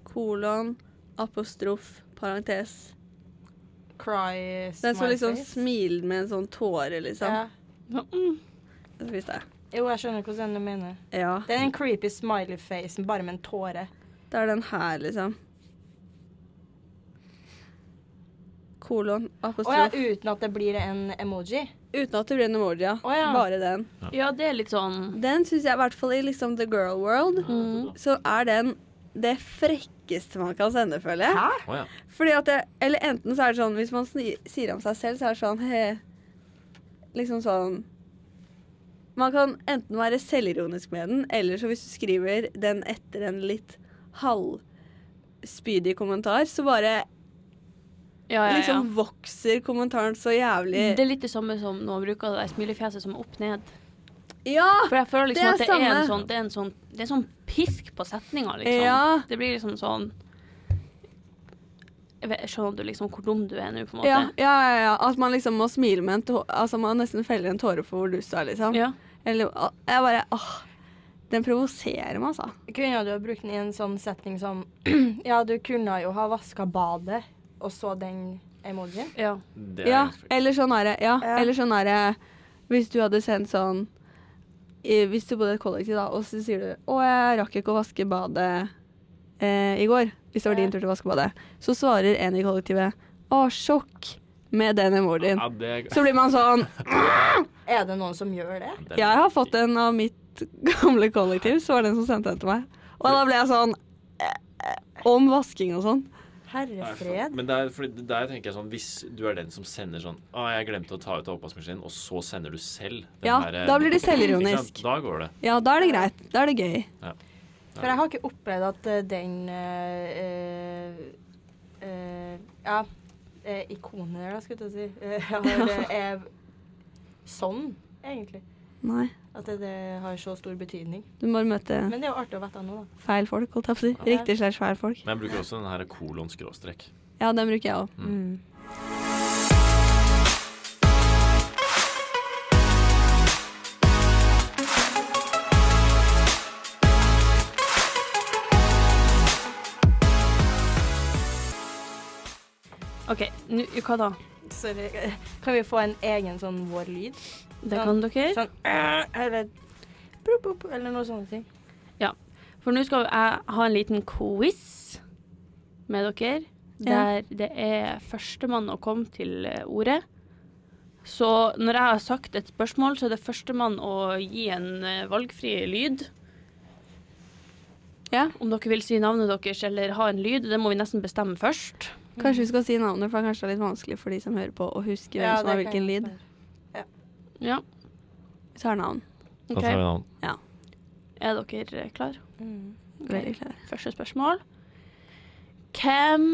D: kolon, apostrof, parentes?
C: Cry
D: Den som
C: smile
D: liksom
C: face.
D: smiler med en sånn tåre, liksom.
C: Ja.
A: Så, mm.
D: Hvis det er.
C: Jo, jeg skjønner hvordan du mener.
D: Ja.
C: Det er en creepy smiley face bare med en tåre.
D: Det er den her, liksom. Kolon,
C: Å
D: apostrof.
C: ja, uten at det blir en emoji.
D: Uten at det blir en emoji, ja.
C: Å ja.
D: Bare den.
A: ja, det er litt sånn
D: Den syns jeg, i hvert fall i liksom The Girl World,
C: Mm.
D: så er den det frekkeste man kan sende, føler jeg.
B: Å ja.
D: Fordi at det, Eller enten så er det sånn hvis man sni, sier om seg selv, så er det sånn he, Liksom sånn Man kan enten være selvironisk med den, eller så hvis du skriver den etter en litt halvspydig kommentar, så bare
A: Ja, ja, ja.
D: liksom vokser kommentaren så jævlig.
A: Det er litt det samme som når man bruker det der smilefjeset som er opp ned.
D: ja!
A: For jeg føler liksom
D: Det er
A: at det er, en
D: samme.
A: sånn, det, er en sånn, det er sånn pisk på setninga, liksom.
D: Ja.
A: Det blir liksom sånn jeg vet, Skjønner du liksom hvor dum du er nå, på en måte?
D: Ja, ja, ja, ja. At man liksom må smile med en tåre Altså man nesten feller en tåre for hvor du står, liksom.
A: Ja.
D: Eller å, Jeg bare Åh. Den provoserer meg, altså.
C: Kunne du ha brukt den i en sånn setning som Ja, du kunne jo ha vaska badet, og så den emojien.
A: ja.
B: Det er
D: Ja,
B: ganske-
D: eller sånn er det. Ja,
C: Ja.
D: eller sånn er det Hvis du hadde sendt sånn i- Hvis du bodde i et kollektiv, da, og så sier du 'Å, jeg rakk ikke å vaske badet eh, i går', hvis det var
C: Ja.
D: din tur til å vaske badet, så svarer en i kollektivet 'Å, sjokk' med den emojien.
B: Ja, det er,
D: Så blir man sånn
C: Er det noen som gjør det?
B: det er-
D: Jeg har fått en av mitt gamle kollektiv, så var det en som sendte den til meg. Og da ble jeg sånn eh, eh, Om vasking og sånn.
C: Herre
B: Nei, for-
C: fred.
B: Men der, fordi der tenker jeg sånn Hvis du er den som sender sånn Å, jeg glemte å ta ut av oppvaskmaskinen, og så sender du selv den
D: Ja,
B: der-
D: da blir det
B: Ikke
D: selvironisk.
B: sant? Da går det.
D: Ja, da er det greit. Da er det gøy.
C: For jeg har ikke opplevd at eh, den eh, eh, eh, Ja, eh, ikonet der, da, skulle jeg til å si, eh, har, eh, er sånn, egentlig.
D: Nei.
C: At det, det har så stor betydning.
D: Du må møte
C: Men det er jo artig å vite nå, da.
D: feil folk, holdt jeg på å si.
C: Ja.
D: Riktig slags feil folk.
B: Men jeg bruker også den her kolon skråstrek.
D: Ja, den bruker jeg òg.
C: Mm.
A: OK, nå, hva da?
C: Sorry. eh, Kan vi få en egen sånn vår lyd?
A: Det kan dere.
C: Sånn eh, eller prop, prop, eller noe sånne ting.
A: For nå skal jeg ha en liten quiz med dere.
D: Ja.
A: Der det er førstemann å komme til eh, ordet. Så når jeg har sagt et spørsmål, så er det førstemann å gi en eh, valgfri lyd.
D: Ja.
A: Om dere vil si navnet deres eller ha en lyd, det må vi nesten bestemme først.
D: Kanskje vi skal si navnet, for det er kanskje litt vanskelig for de som hører på, å huske hvem
C: Ja,
D: som har
C: det kan
D: hvilken
C: jeg
D: lyd.
C: spørre.
A: Ja,
D: Vi tar navn.
B: Da tar vi
A: ok.
B: den an.
A: Er dere klare?
C: Mm.
D: Veldig klar.
A: Første spørsmål. Hvem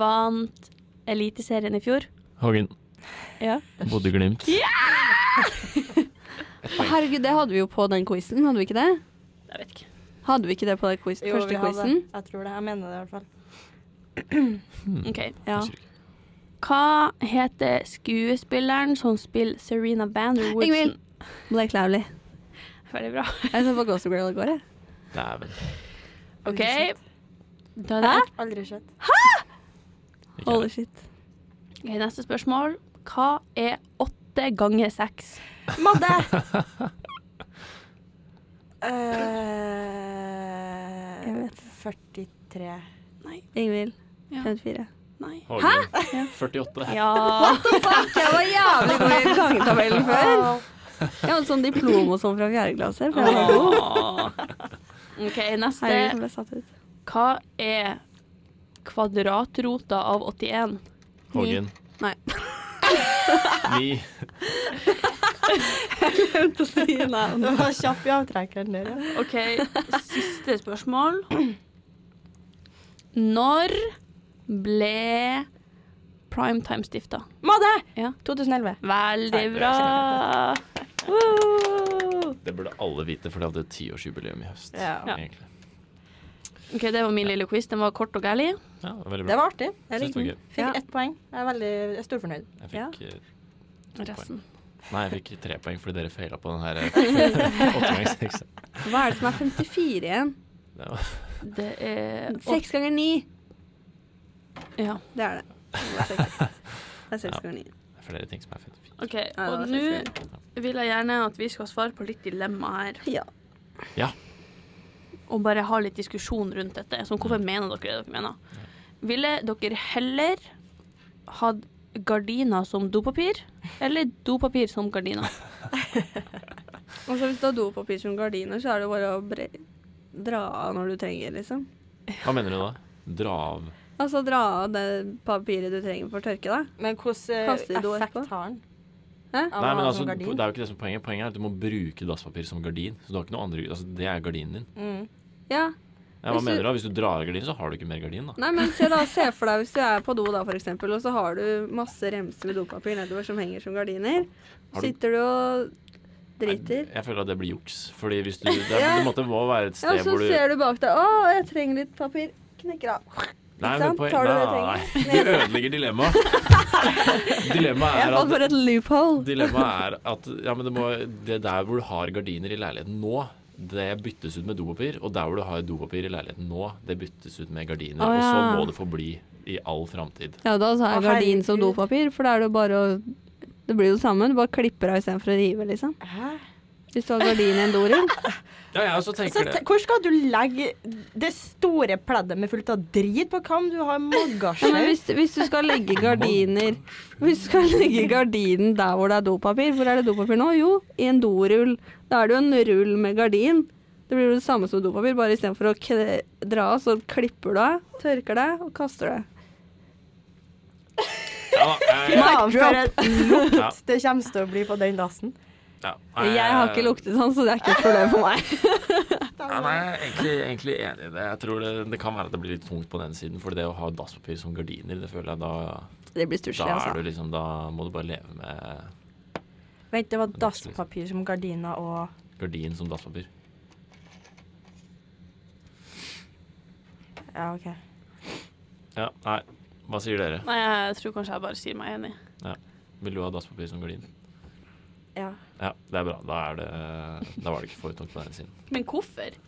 A: vant Eliteserien i fjor?
B: Hågen.
D: Ja.
B: Bodø-Glimt.
D: Å, herregud, det hadde vi jo på den quizen, hadde vi ikke det?
A: Jeg vet ikke.
D: Hadde vi ikke det på den quiz
C: Jo, vi
D: første
C: har det.
D: quizen?
C: Jeg tror det. Jeg mener det i hvert fall.
B: Hmm.
A: OK.
D: Ja.
A: Hva heter skuespilleren som spiller Serena Vanderwoodson?
D: Ingvild. Blake Lowley.
A: Veldig bra.
D: Jeg så på Ghost Girl i går, jeg.
B: Dæven.
A: OK.
C: Aldri
A: Da er det.
C: Aldri sett.
B: Ikke
D: Holy
B: jeg.
D: shit.
A: Ok, neste spørsmål. Hva er åtte ganger seks?
C: Madde! Eh,
D: Jeg vet
C: 43.
D: Ingvild.
A: Ja.
D: 54.
A: Nei.
B: Hågen. 48.
A: Ja.
D: Fuck, jeg var jævlig god i gangetabellen før. Jeg hadde sånn diplom og sånn fra fjerde klasse. For jeg var god.
A: OK,
D: Herregud, jeg
A: neste.
D: ble satt ut.
A: Hva er kvadratrota av 81?
B: Hågen.
D: Nei.
B: Ni.
D: Glemte å si navn.
C: Du var kjapp i avtrekkeren der, ja.
A: OK, siste spørsmål. Når ble Primetime stifta?
C: Madde!
A: Ja.
C: 2011.
A: Veldig bra! Woo!
B: Det burde alle vite, for de hadde tiårsjubileum i høst.
C: Ja.
A: Ja.
B: Egentlig.
A: OK, det var min lille quiz. Den var kort og gærlig.
B: Ja, det var veldig
C: Det
B: bra.
C: var artig.
B: Jeg
C: Jeg
B: Synes
C: likte
B: det var
C: den.
B: gøy.
C: Fikk
D: Ja.
C: ett poeng. Jeg er veldig jeg er storfornøyd.
B: Jeg fikk, eh,
A: Resten.
B: Nei, jeg fikk tre poeng fordi dere feila på den her. eh, åtte ganger seks.
D: Hva er det som er 54 igjen?
B: Det var-
A: Det er åtte.
D: Seks ganger ni.
A: Ja.
D: Det er det. Det er seks. Det er seks ganger ni.
B: Det er flere ting som er fint.
A: OK,
D: Ja, det var
A: og nå vil jeg gjerne at vi skal svare på litt dilemma her.
D: Ja.
B: Ja.
A: Og bare ha litt diskusjon rundt dette. Sånn, hvorfor mener dere det dere mener? Ville dere heller hatt gardiner som dopapir, eller dopapir som gardiner?
D: Og så hvis du har dopapir som gardiner, så er det jo bare å bre dra av når du trenger, liksom.
B: Hva mener du da? Dra av
D: Altså dra av det papiret du trenger for å tørke deg.
C: Men hvordan eh,
D: Kaster du år
C: effekt
D: på?
C: har den? sånn
B: Nei, men altså, det er jo ikke det som er poenget. Poenget er at du må bruke dasspapir som gardin. Så du har ikke noe andre altså, Det er gardinen din.
C: Mm.
D: Ja.
B: Ja, hva
D: Hvis du-
B: mener du da? Hvis du drar av gardinen, så har du ikke mer gardin, da.
D: Nei, men se, da, se for deg hvis du er på do da, for eksempel, og så har du masse remser med dopapir nedover som henger som gardiner.
B: Har du-
D: Sitter du og driter.
B: Jeg føler at det blir juks. Fordi hvis du Det, er, det måtte, må være et
D: Ja,
B: sted
D: så
B: hvor du
D: ser du bak deg. Å, jeg trenger litt papir. Knekker av.
B: Nei,
D: sant?
B: men poen-
D: Tar du det
B: nei,
D: trenger?
B: nei, Du ødelegger dilemmaet. Dilemmaet er
D: Jeg falt
B: at
D: for et loophole.
B: Dilemmaet er at ja, men det, må, det der hvor du har gardiner i leiligheten nå, det byttes ut med dopapir. Og der hvor du har dopapir i leiligheten nå, det byttes ut med gardiner.
A: Å,
B: Og så
A: ja.
B: må det forbli i all framtid.
D: Ja, da har
C: Å,
D: jeg gardin
C: herregud.
D: som dopapir, for da er det jo bare å Det blir jo det samme, du bare klipper av istedenfor å rive, liksom.
C: Hæ?
D: Hvis du har gardin i en dorull.
B: Ja, jeg også
C: Så
B: tenker
C: te-
B: det.
C: hvor skal du legge det store pleddet med fullt av drit på? Hva om du har
D: Ja, men
C: magasje?
D: hvis, hvis du skal legge gardiner Hvis du skal legge gardinen der hvor det er dopapir Hvor er det dopapir nå? Jo, i en dorull. Da er det jo en rull med gardin. Det blir jo det samme som dopapir, bare istedenfor å kne- dra, så klipper du av, tørker deg og kaster det.
B: Ja, jeg,
C: Faen, for
D: drop.
C: en lukt det kommer til å bli på den dassen.
B: ja,
D: Jeg har ikke luktesans, så det er ikke et problem for meg.
B: Ja, nei, jeg er egentlig, egentlig enig i det. Jeg tror det, det kan være at det blir litt tungt på den siden. For det å ha dasspapir som gardiner, det føler jeg da
D: Det blir
B: Da,
D: stusslig,
B: er
D: altså.
B: du liksom, da må du bare leve med
C: Vent, det var dasspapir som gardiner og
B: gardin som dasspapir.
C: Ja, OK.
B: Ja, nei. Hva sier dere?
A: Nei, jeg tror kanskje jeg bare sier meg enig.
B: Vil du ha dasspapir som gardin?
C: Ja.
B: Ja, det er bra. Da, er det, da var det ikke for tungt på den siden.
A: Men hvorfor?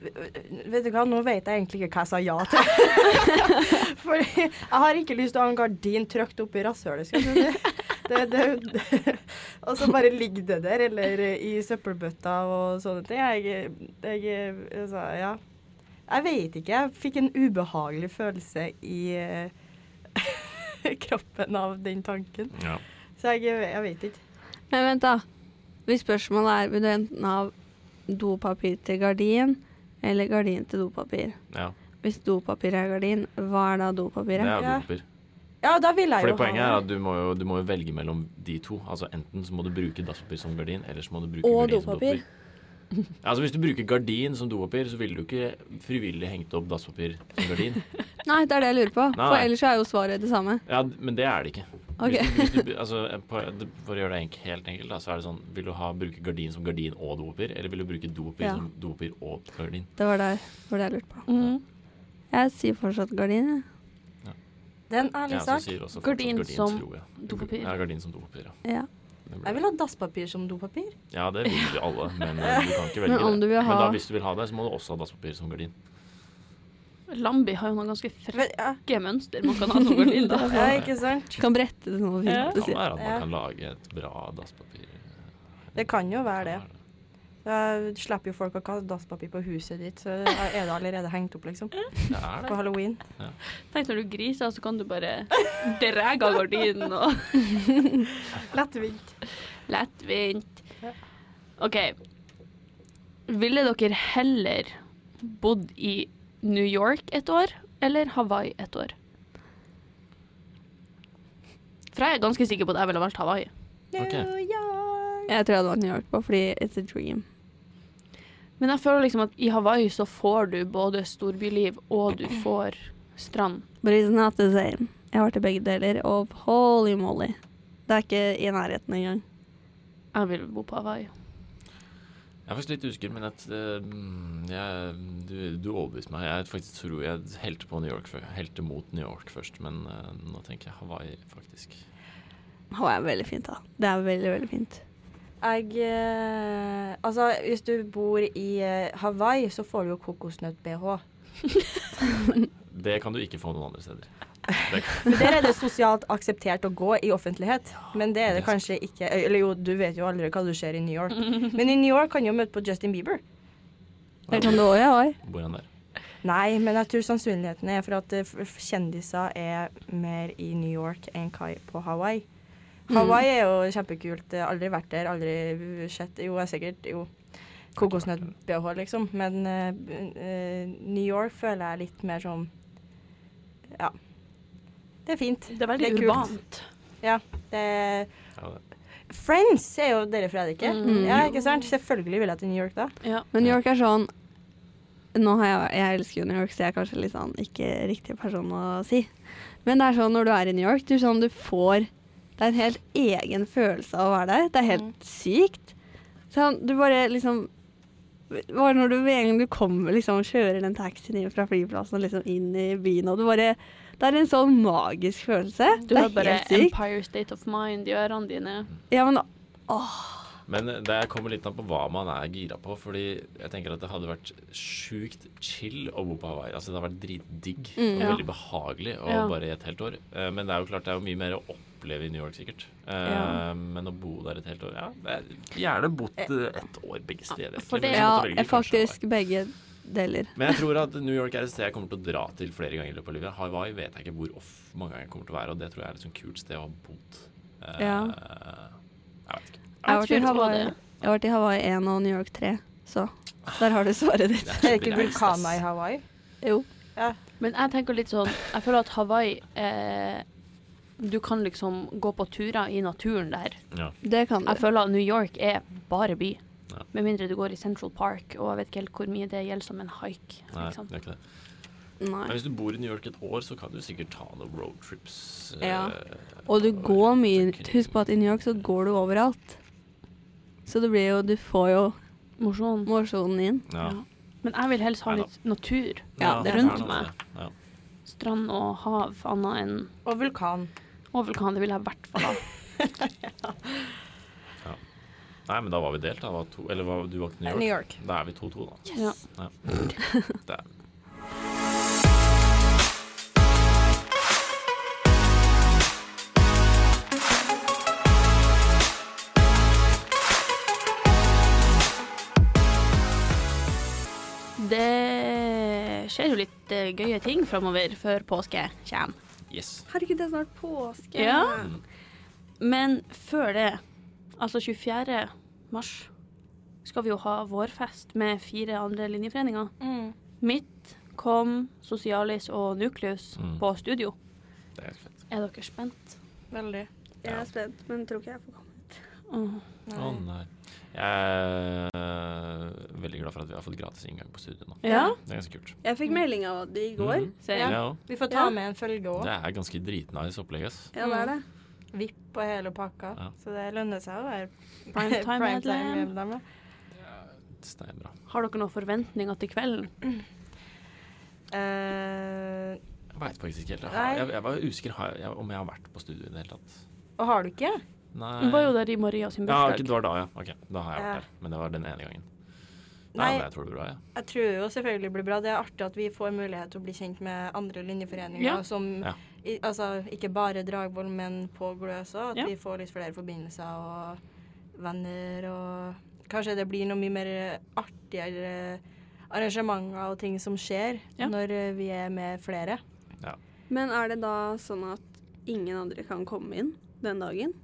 C: Vet du hva, nå vet jeg egentlig ikke hva jeg sa ja til. Fordi jeg har ikke lyst til å ha en gardin trykt opp i rasshølet, skal du si. Det, det, det. Og så bare ligger det der, eller i søppelbøtta og sånne ting. Jeg, jeg, altså, ja. jeg vet ikke. Jeg fikk en ubehagelig følelse i eh, kroppen av den tanken.
B: Ja.
C: Så jeg, jeg vet ikke.
D: Men vent, da. Hvis spørsmålet er vil du enten ha dopapir til gardin eller gardin til dopapir
B: ja.
D: Hvis dopapir er gardin, hva er da dopapiret?
B: Det er
C: Ja.
B: dopapir.
C: Ja, da vil jeg
B: Fordi
C: jo ha
B: poenget er at du må, jo, du må jo velge mellom de to. Altså Enten så må du bruke dasspapir som gardin, eller så må du bruke
D: Og
B: gardin som
D: dopapir.
B: dopapir. Altså Hvis du bruker gardin som dopapir, så ville du ikke frivillig hengt opp dasspapir som gardin.
D: Nei, det er det jeg lurer på.
B: Nei,
D: For
B: nei.
D: ellers er jo svaret det samme.
B: Ja, d- Men det er det ikke.
D: Ok.
B: Hvis du, hvis du, altså, på, det- for å gjøre det enk- helt enkelt, da, så er det sånn Vil du ha, bruke gardin som gardin og dopapir, eller vil du bruke dopapir
D: Ja.
B: som dopapir og gardin?
D: Det var der hvor det jeg lurte på. Jeg sier fortsatt gardin. jeg.
C: Det er en ærlig
B: Ja, så
C: sak.
B: sier også fortsatt
A: Gardin som
B: tror jeg.
A: dopapir.
B: Ja, gardin som dopapir. Ja.
D: Ja.
B: Det blir-
C: Jeg vil ha dasspapir som dopapir.
B: Ja, det vil jo alle, men eh, du kan ikke velge
D: Men om
B: det.
D: du vil
B: Men da,
D: ha-
B: hvis du vil ha det, så må du også ha dasspapir som gardin.
A: Lambi har jo noen ganske frekke
C: Vel, Ja,
A: mønster man kan ha som gardin. Da.
C: ja ikke sant?
D: Du kan brette det sånn.
A: Ja.
B: Det kan
D: Ja.
B: være at man
C: Ja.
B: kan lage et bra dasspapir.
C: Det kan jo være det.
B: Kan være
C: Da slipper jo folk å kaste dasspapir på huset ditt, så er det allerede hengt opp, liksom.
B: Det er
C: På
B: det.
C: halloween.
A: Tenk når du griser, så kan du bare dra av gardinen og
C: Lettvint.
A: Lettvint. OK. Ville dere heller bodd i New York et år eller Hawaii et år? For jeg er ganske sikker på at jeg ville valgt Hawaii.
D: Jeg
B: Ok.
D: tror jeg hadde vært New York på, fordi it's a dream.
A: Men jeg føler liksom at i Hawaii så får du både storbyliv og du får strand.
D: But it's not the same. Jeg har vært i begge deler, og holy moly. Det er ikke i nærheten engang.
A: Jeg vil bo på Hawaii.
B: Jeg er faktisk litt usikker, men at, eh, mm, jeg, du, du overbeviste meg. Jeg faktisk tror jeg helte på New York før. Helte mot New York først, men eh, nå tenker jeg Hawaii, faktisk.
D: Hawaii er veldig fint, da. Det er veldig, veldig fint.
C: Jeg eh, Altså, hvis du bor i eh, Hawaii, så får du jo kokosnøtt-BH.
B: Det kan du ikke få noen andre steder.
C: Men Der er det sosialt akseptert å gå i offentlighet, men det er det
B: det er
C: kanskje ikke Eller jo, du vet jo aldri hva du ser i New York. Men i New York kan du jo møte på Justin Bieber.
D: Det kan du òg i Hawaii.
B: Bor han der?
C: Nei, men jeg tror sannsynligheten er for at eh, f- f- kjendiser er mer i New York enn hva på Hawaii.
A: Mm.
C: Hawaii er jo kjempekult. Jeg har Aldri vært der, aldri sett Jo, jeg er sikkert Jo, kokosnøtt-BH, liksom. Men eh, b- eh, New York føler jeg litt mer som Ja. Det er fint.
A: Det er veldig
C: Det er kult.
A: urbant.
C: Ja, det
B: Ja, det.
C: Friends er jo dere fra Edike.
A: Mm.
C: Ja, ikke sant? Selvfølgelig vil jeg til New York da.
A: Ja.
D: Men New York er sånn nå har jeg, jeg elsker jo New York, så jeg er kanskje litt sånn ikke riktig person å si. Men det er sånn når du er i New York, du, sånn, du får Det er en helt egen følelse av å være der. Det er helt
A: Mm.
D: sykt. Sånn, du bare liksom Bare når du med en gang du kommer, liksom kjører den taxien inn fra flyplassen og liksom inn i byen, og du bare Det er en sånn magisk følelse.
A: Du
D: det
A: har
D: er
A: bare
D: helt sykt.
A: Empire State of Mind i ørene dine.
D: Ja, men
B: Men eh, det kommer litt an på hva man er gira på. Fordi jeg tenker at det hadde vært sjukt chill å bo på Hawaii. Altså det hadde vært dritdigg
D: Mm.
B: og
A: Ja.
B: veldig behagelig og
A: Ja.
B: bare i et helt år. Eh, Men det er jo klart det er jo mye mer å oppleve i New York, sikkert. Eh,
A: Ja.
B: Men å bo der et helt år Ja, det er gjerne bodd eh, ett år begge steder.
A: for
B: egentlig, men
A: det-
B: jeg måtte
D: Ja,
B: velge
D: jeg
B: kanskje Hawaii.
D: faktisk begge deler.
B: Men jeg tror at New York er et sted jeg kommer til å dra til flere ganger i løpet av livet. Hawaii vet jeg ikke hvor off mange ganger jeg kommer til å være, og det tror jeg er et sånt kult sted å ha bodd. Eh,
D: Ja.
B: Jeg vet ikke.
D: Jeg har vært i
A: tror på
D: Hawaii
A: det.
D: Jeg har vært i Hawaii 1 og New York 3, så der har du svaret ditt.
C: Er det ikke vulkaner i Hawaii?
D: Jo.
A: Men jeg tenker litt sånn Jeg føler at Hawaii eh, Du kan liksom gå på turer i naturen der.
B: Ja.
D: Det kan
A: Jeg
D: du.
A: føler at New York er bare by.
B: Ja.
A: Med mindre du går i Central Park, og jeg vet ikke helt hvor mye det gjelder som en hike.
B: Nei,
A: Ikke sant?
B: det er ikke det. Men
D: Nei.
B: hvis du bor i New York et år, så kan du sikkert ta noen roadtrips. eh,
D: Ja. Og du går mye Husk på at i New York så går du overalt. Så det blir jo Du får jo
A: Mosjon.
D: mosjonen inn.
B: Ja.
A: Ja. Men jeg vil helst ha
B: Neida.
A: litt natur.
D: Ja, det er
A: rundt
B: noe
A: meg.
B: med det. Ja.
A: Strand og hav, annet enn
C: Og vulkan.
A: og vulkan. Det vil jeg i hvert fall ha.
B: Nei, men da var vi delt. Da. Var to, eller var, du valgte New York.
C: New York.
B: Da er vi 2-2, da.
A: Ja.
B: Ja. Der.
A: Det skjer jo litt eh, gøye ting framover før påske kommer.
B: Yes.
D: Herregud, det er snart påske.
A: Ja.
B: Mm.
A: Men før det, altså 24. mars, skal vi jo ha vårfest med fire andre linjeforeninger. Mitt, KOM, Sosialis og Nukleus
B: Mm.
A: på studio.
B: Det er helt fett.
A: Er dere spent?
C: Veldig.
D: Jeg er spent, men tror ikke jeg får komme.
A: Åh.
B: Å nei. Jeg er veldig glad for at vi har fått gratis inngang på studiet nå.
A: Ja?
B: Det er ganske kult.
D: Jeg fikk melding av det i
B: går.
A: Ser
C: Ja.
A: jeg.
B: Ja,
C: Vi får ta
D: Ja.
C: med en følge òg.
B: det er ganske dritnice opplegg, ass.
D: Ja, det er det.
C: Vipp og hele pakka.
B: Ja.
C: Så det lønner seg å være
A: Primetime medlem.
C: primetime-medlem.
B: Det er bra.
A: Har dere noen forventninger til kvelden?
C: Eh,
B: Jeg veit faktisk ikke helt. Jeg,
C: Nei.
B: har- jeg, jeg var usikker har jeg, om jeg har vært på studiet i det hele tatt.
C: og har du ikke?
B: Nei.
A: Du var jo der i Maria sin
B: Ja, ok,
A: bursdag.
B: det var da, ja. Ok, da har jeg vært
C: Ja.
B: der. Men det var den ene gangen. Nei,
C: Nei.
B: men jeg tror det blir bra, jeg.
C: Jeg tror jo selvfølgelig det blir bra. Det er artig at vi får mulighet til å bli kjent med andre linjeforeninger
A: Ja.
C: som
B: Ja.
C: i, Altså ikke bare Dragvoll, men på Glø også. At
A: Ja.
C: vi får litt flere forbindelser og venner og Kanskje det blir noe mye mer artigere arrangementer og ting som skjer
A: Ja.
C: når eh, vi er med flere.
A: Mm.
D: Men er det da sånn at ingen andre kan komme inn den dagen?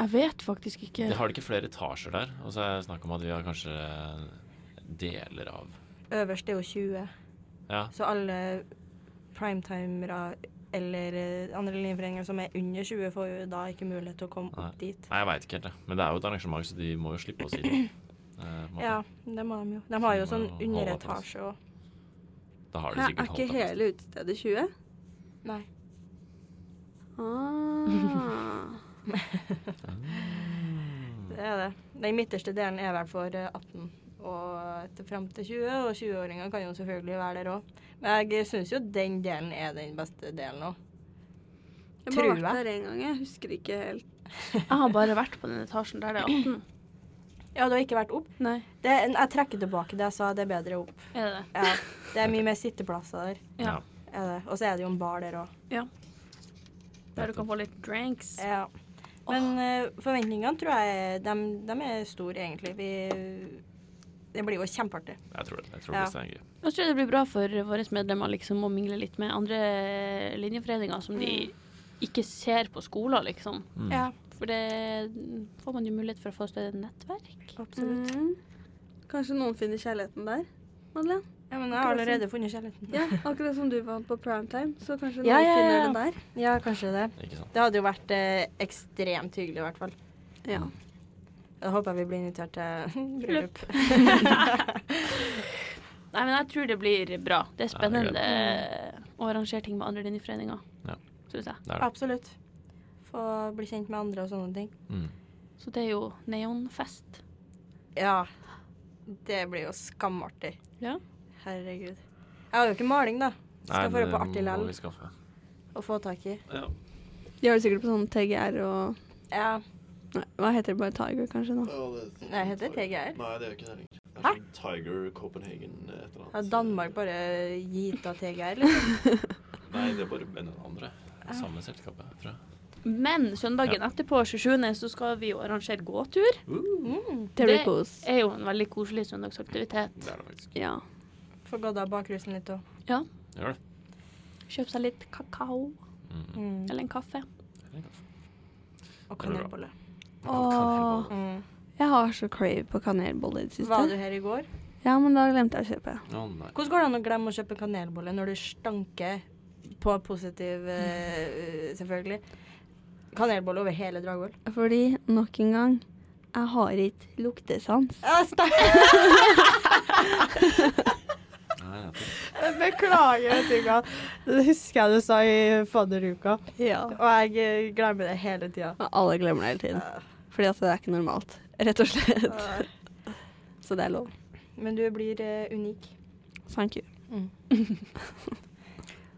A: Jeg vet faktisk ikke.
B: Det har det ikke flere etasjer der. Og så er det snakk om at vi har kanskje deler av
C: Øverst er jo 20,
B: Ja.
C: så alle primetimere eller eh, andre linjeforeninger som er under 20, får jo da ikke mulighet til å komme
B: Nei.
C: opp dit.
B: Nei, jeg veit ikke helt, det. Men det er jo et arrangement, så de må jo slippe oss inn. Eh, på en måte.
C: Ja, det må de jo. De har jo
B: Så de
C: sånn
B: må jo holde på plass.
C: underetasje og
B: Da har de
D: Hæ,
B: sikkert
D: er ikke
B: holdt opp.
D: hele utestedet 20?
C: Nei.
D: Ah.
B: Mm.
C: Det er det. Den midterste delen er vel for eh, 18 og til fram til 20, og 20-åringer kan jo selvfølgelig være der òg. Men jeg syns jo den delen er den beste delen òg.
D: Jeg har bare
C: Tror jeg.
D: vært der én gang, jeg husker ikke helt.
A: Jeg har bare vært på den etasjen der det er 18.
C: Ja, du har ikke vært opp?
A: Nei,
C: Det er, jeg trekker tilbake det jeg sa, det er bedre opp.
A: er det det?
C: Ja, det er mye mer sitteplasser der.
A: Ja.
C: Er det. Og så er det jo en bar der òg.
A: Der du kan få litt drinks.
C: Ja. Men eh, forventningene tror jeg de, er store, egentlig. Vi, det blir jo kjempeartig.
B: Jeg tror det. Jeg tror
C: Ja.
B: det er gøy.
A: Jeg tror det blir bra for våre medlemmer liksom, å mingle litt med andre linjeforeninger som de ikke ser på skolen, liksom.
B: Mm.
C: Ja,
A: For det får man jo mulighet for å få større nettverk.
C: absolutt.
D: Mm. Kanskje noen finner kjærligheten der? Madeleine?
C: Ja, men jeg har allerede funnet kjærligheten.
D: Ja, akkurat som du vant på primetime, så kanskje
C: Ja,
D: noen
C: ja,
D: finner
C: ja.
D: den der.
C: Ja, kanskje det.
B: Ikke sant?
C: Det hadde jo vært eh, ekstremt hyggelig, i hvert fall.
D: Ja.
C: Jeg håper vi blir invitert til bryllup.
A: Nei, men jeg tror det blir bra.
B: Ja, det
A: Det er
B: er
A: spennende Mm. å arrangere ting med andre linjeforeninger,
B: Ja.
A: syns jeg.
B: Det er det.
C: Absolutt. Få bli kjent med andre og sånne ting.
B: Mm.
A: Så det er jo neonfest.
C: Ja. Det blir jo skamartig.
A: Ja.
C: Herregud. Jeg har jo ikke maling, da. Skal få det på artig
B: må
C: lell
B: vi skaffe.
C: å få tak i.
B: Ja.
D: De har det sikkert på sånn TGR og
C: Ja.
D: Nei, hva heter det? Bare Tiger, kanskje? nå?
C: Nei, heter det TGR?
F: Nei, det er ikke det lenger. Det er
C: Hæ?
F: sånn Tiger Copenhagen et eller annet.
C: Har Danmark bare gitt av TGR, liksom?
B: Nei, det er bare en andre. Samme selskapet, tror jeg.
A: Men søndagen etterpå, 27., så skal vi jo arrangere gåtur.
C: Mm.
D: Det blir kos.
A: Det er jo en veldig koselig søndagsaktivitet.
B: Det er det faktisk.
D: Ja.
C: Få gått av bakrusen litt òg.
B: Gjør det.
A: Kjøpe seg litt kakao
B: Mm.
C: Mm.
A: eller en kaffe.
C: Og kanelbolle.
D: Åh,
C: Mm.
D: jeg har så crave på kanelbolle i det
C: Var du
D: siste.
C: her i går?
D: Ja, men da glemte jeg å kjøpe.
B: Å nei.
C: Hvordan går det an å glemme å kjøpe kanelbolle når du stanker på positiv eh, Selvfølgelig. Kanelbolle over hele Dragvoll.
D: Fordi, nok en gang, jeg har ikke luktesans.
B: Nei, jeg tror-
C: Beklager, vet du hva. Det husker jeg du sa i fadderuka,
D: Ja.
C: og jeg eh, glemmer det hele tida.
D: Men alle glemmer det hele tiden. Fordi at det er ikke normalt, rett og slett. Så det er lov.
C: Men du blir eh, unik.
D: Thank you.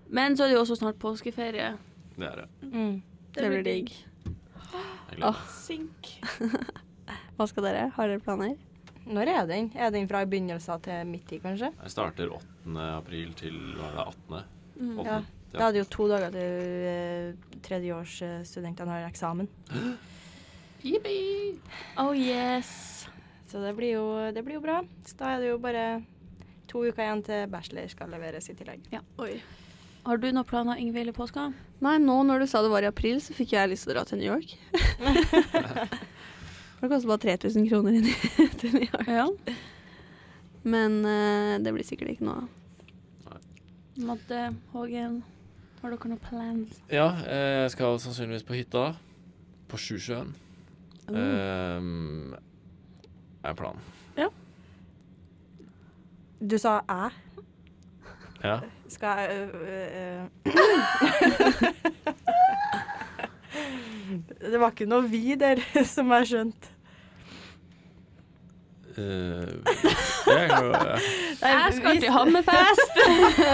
A: Men så er det jo også snart påskeferie.
B: Det er det.
C: Mm.
D: Det blir digg.
B: Jeg gleder meg.
A: Sink.
D: Hva skal dere? Har dere planer?
C: Når er den? Er den fra begynnelsen til midt i, kanskje?
B: Jeg starter 8. april til hva er det, 18.
C: Ja.
A: Mm.
B: 8.
C: Jeg hadde jo to dager til eh, tredjeårsstudentene har eksamen.
A: Yippee. Oh yes.
C: Så det blir, jo, det blir jo bra. Så da er det jo bare to uker igjen til bachelor skal leveres i tillegg.
A: Oi. Har du noen planer, Ingvild, i påska?
D: Nei, nå når du sa det var i april, så fikk jeg lyst til å dra til New York. For det koster bare 3000 kroner inn i- til New York.
A: Ja.
D: Men eh, det blir sikkert ikke noe av.
A: Madde, Hågen, har dere noen plans?
B: Ja, eh, jeg skal sannsynligvis på hytta. På Sjusjøen.
C: Mm.
B: Ehm, er planen.
C: Du sa æ.
B: Ja.
C: Skal jeg øh, øh. Det var ikke noe vi der, som jeg skjønte.
B: Eh, jeg, jeg,
A: Jeg skal
C: vi-
A: til Hammerfest!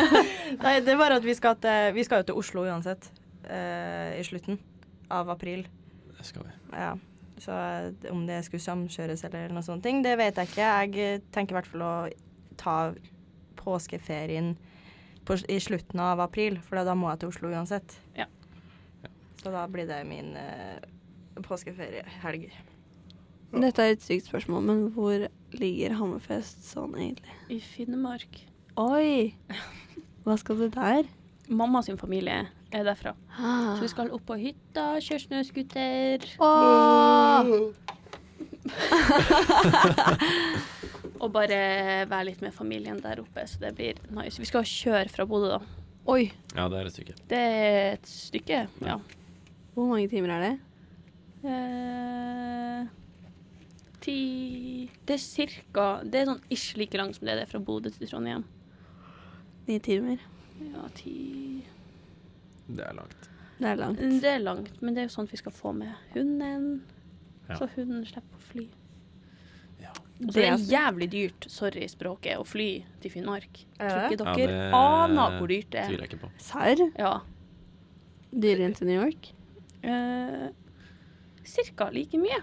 C: Nei, det var at vi skal, til, vi skal jo til Oslo uansett. eh, I slutten av april.
B: det skal vi.
C: Ja. Så eh, om det skulle samkjøres eller noe sånt, det vet jeg ikke. Jeg eh, tenker i hvert fall å ta påskeferien på, i slutten av april, for da må jeg til Oslo uansett.
A: Ja.
C: Så da blir det min eh, påskeferiehelg.
D: Dette er et sykt spørsmål, men hvor ligger Hammerfest sånn egentlig?
A: I Finnmark.
D: Oi! Hva skal du der?
A: Mamma sin familie er derfra.
D: Ah.
A: Så vi skal opp på hytta, kjøre snøskuter
D: Åh!
A: og bare være litt med familien der oppe. Så det blir nice. Vi skal kjøre fra Bodø, da.
D: Oi!
B: Ja, det er et stykke.
A: Det er et stykke, ja.
D: Hvor mange timer er det?
A: Eh, ti Det er cirka Det er sånn ish like langt som det det er fra Bodø til Trondheim.
D: Ni timer.
A: Ja, ti Mm,
B: Det er langt.
D: Det er langt.
A: Det er langt, men det er jo sånn at vi skal få med hunden.
B: Ja.
A: Så hunden slipper å fly.
B: Ja.
A: Og så er det
D: Det
A: jævlig dyrt, sorry språket, å fly til Finnmark. Tror
C: Er det?
A: ikke dere
B: Ja, det
A: aner hvor dyrt det
B: Tviler
A: er.
B: jeg ikke på.
D: Serr?
A: Ja.
D: Dyrere enn til New York?
A: Eh, cirka like mye.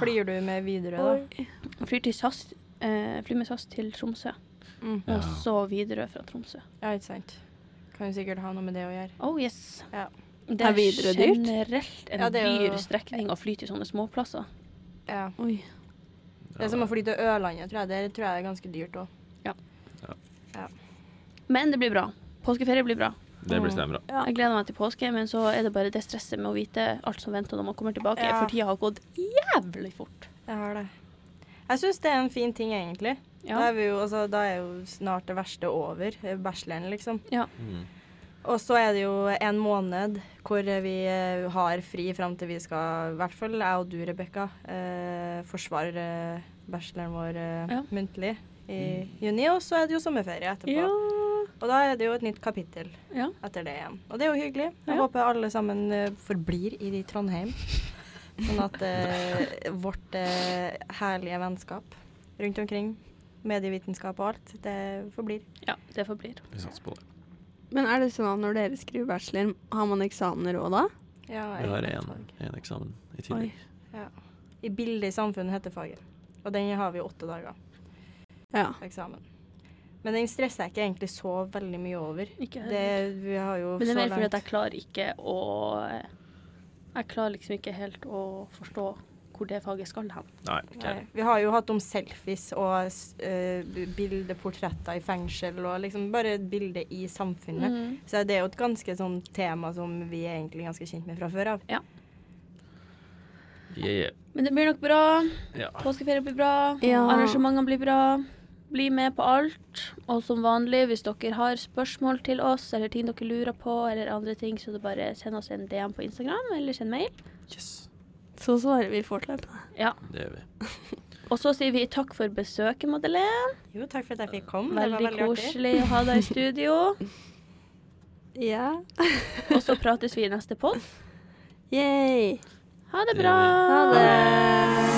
C: Flyr du med Widerøe, da?
A: Jeg flyr, til SAS, eh, flyr med SAS til Tromsø,
C: Mm.
B: Ja.
A: og så videre fra Tromsø.
C: Ja, ikke sant. Kan jo sikkert ha noe med det å gjøre.
A: Oh yes.
C: Ja.
A: Det
D: Er
A: er
D: Widerøe dyrt?
A: generelt en
C: Ja, det er jo-
A: dyr strekning å fly til sånne småplasser.
C: Ja.
D: Oi.
C: Det er som å fly til Ørlandet, tror jeg. Det tror jeg er ganske dyrt òg.
A: Men det blir bra. Påskeferie blir bra.
B: Det blir stemmebra.
A: Jeg gleder meg til påske, men så er det bare det stresset med å vite alt som venter når man kommer tilbake,
C: Ja.
A: for tida har gått jævlig fort.
C: Jeg har det. Jeg syns det er en fin ting, egentlig.
A: Ja.
C: Da, er vi jo, altså, da er jo snart det verste over, eh, bacheloren, liksom.
B: Mm.
C: Og så er det jo en måned hvor vi eh, har fri fram til vi skal, i hvert fall jeg og du, Rebekka, eh, forsvare eh, bacheloren vår eh,
A: Ja.
C: muntlig i juni. Og så er det jo sommerferie etterpå.
A: Ja.
C: Og da er det jo et nytt kapittel
A: Ja.
C: etter det igjen. Og det er jo hyggelig. Jeg
A: Ja.
C: håper alle sammen eh, forblir i de Trondheim. Sånn at eh, vårt eh, herlige vennskap rundt omkring, medievitenskap og alt, det forblir.
A: ja, det forblir.
B: Vi satser på det.
D: Men er det sånn at når dere skriver bachelor, har man eksamener òg da?
C: Ja,
B: Vi har én eksamen i tillegg.
A: Oi.
C: I bildet i samfunnet heter faget. Og den har vi åtte dager
D: Ja.
C: på eksamen. Men den stresser jeg ikke egentlig så veldig mye over.
A: Ikke
C: Det, vi har jo
A: Men det er
C: så
A: mer fordi at
C: langt-
A: jeg klarer ikke å eh, Jeg klarer liksom ikke helt å forstå hvor det faget skal hen.
B: Nei,
C: Nei.
B: okay.
C: Vi har jo hatt om selfies og s- eh, b- bildeportretter i fengsel og liksom bare et bilde i samfunnet. Så det er jo et ganske sånn tema som vi er egentlig ganske kjent med fra før av.
B: yeah,
A: Men det blir nok bra.
B: yeah. ja.
A: Påskeferie blir bra.
D: Ja.
A: Arrangementene blir bra. Bli med på alt. Og som vanlig, hvis dere har spørsmål til oss eller ting dere lurer på, eller andre ting, så er det bare send oss en DM på Instagram eller send mail.
B: Yes.
D: Så svarer vi fortløpende.
A: Ja.
B: Det gjør vi.
A: Og så sier vi takk for besøket, Madeleine.
C: Jo, takk for at jeg fikk komme. Mm, det var
A: Veldig
C: veldig artig.
A: koselig å ha deg i studio.
D: Ja.
A: Og så prates vi i neste pod.
D: Yay.
A: Ha det bra.
D: Ha det.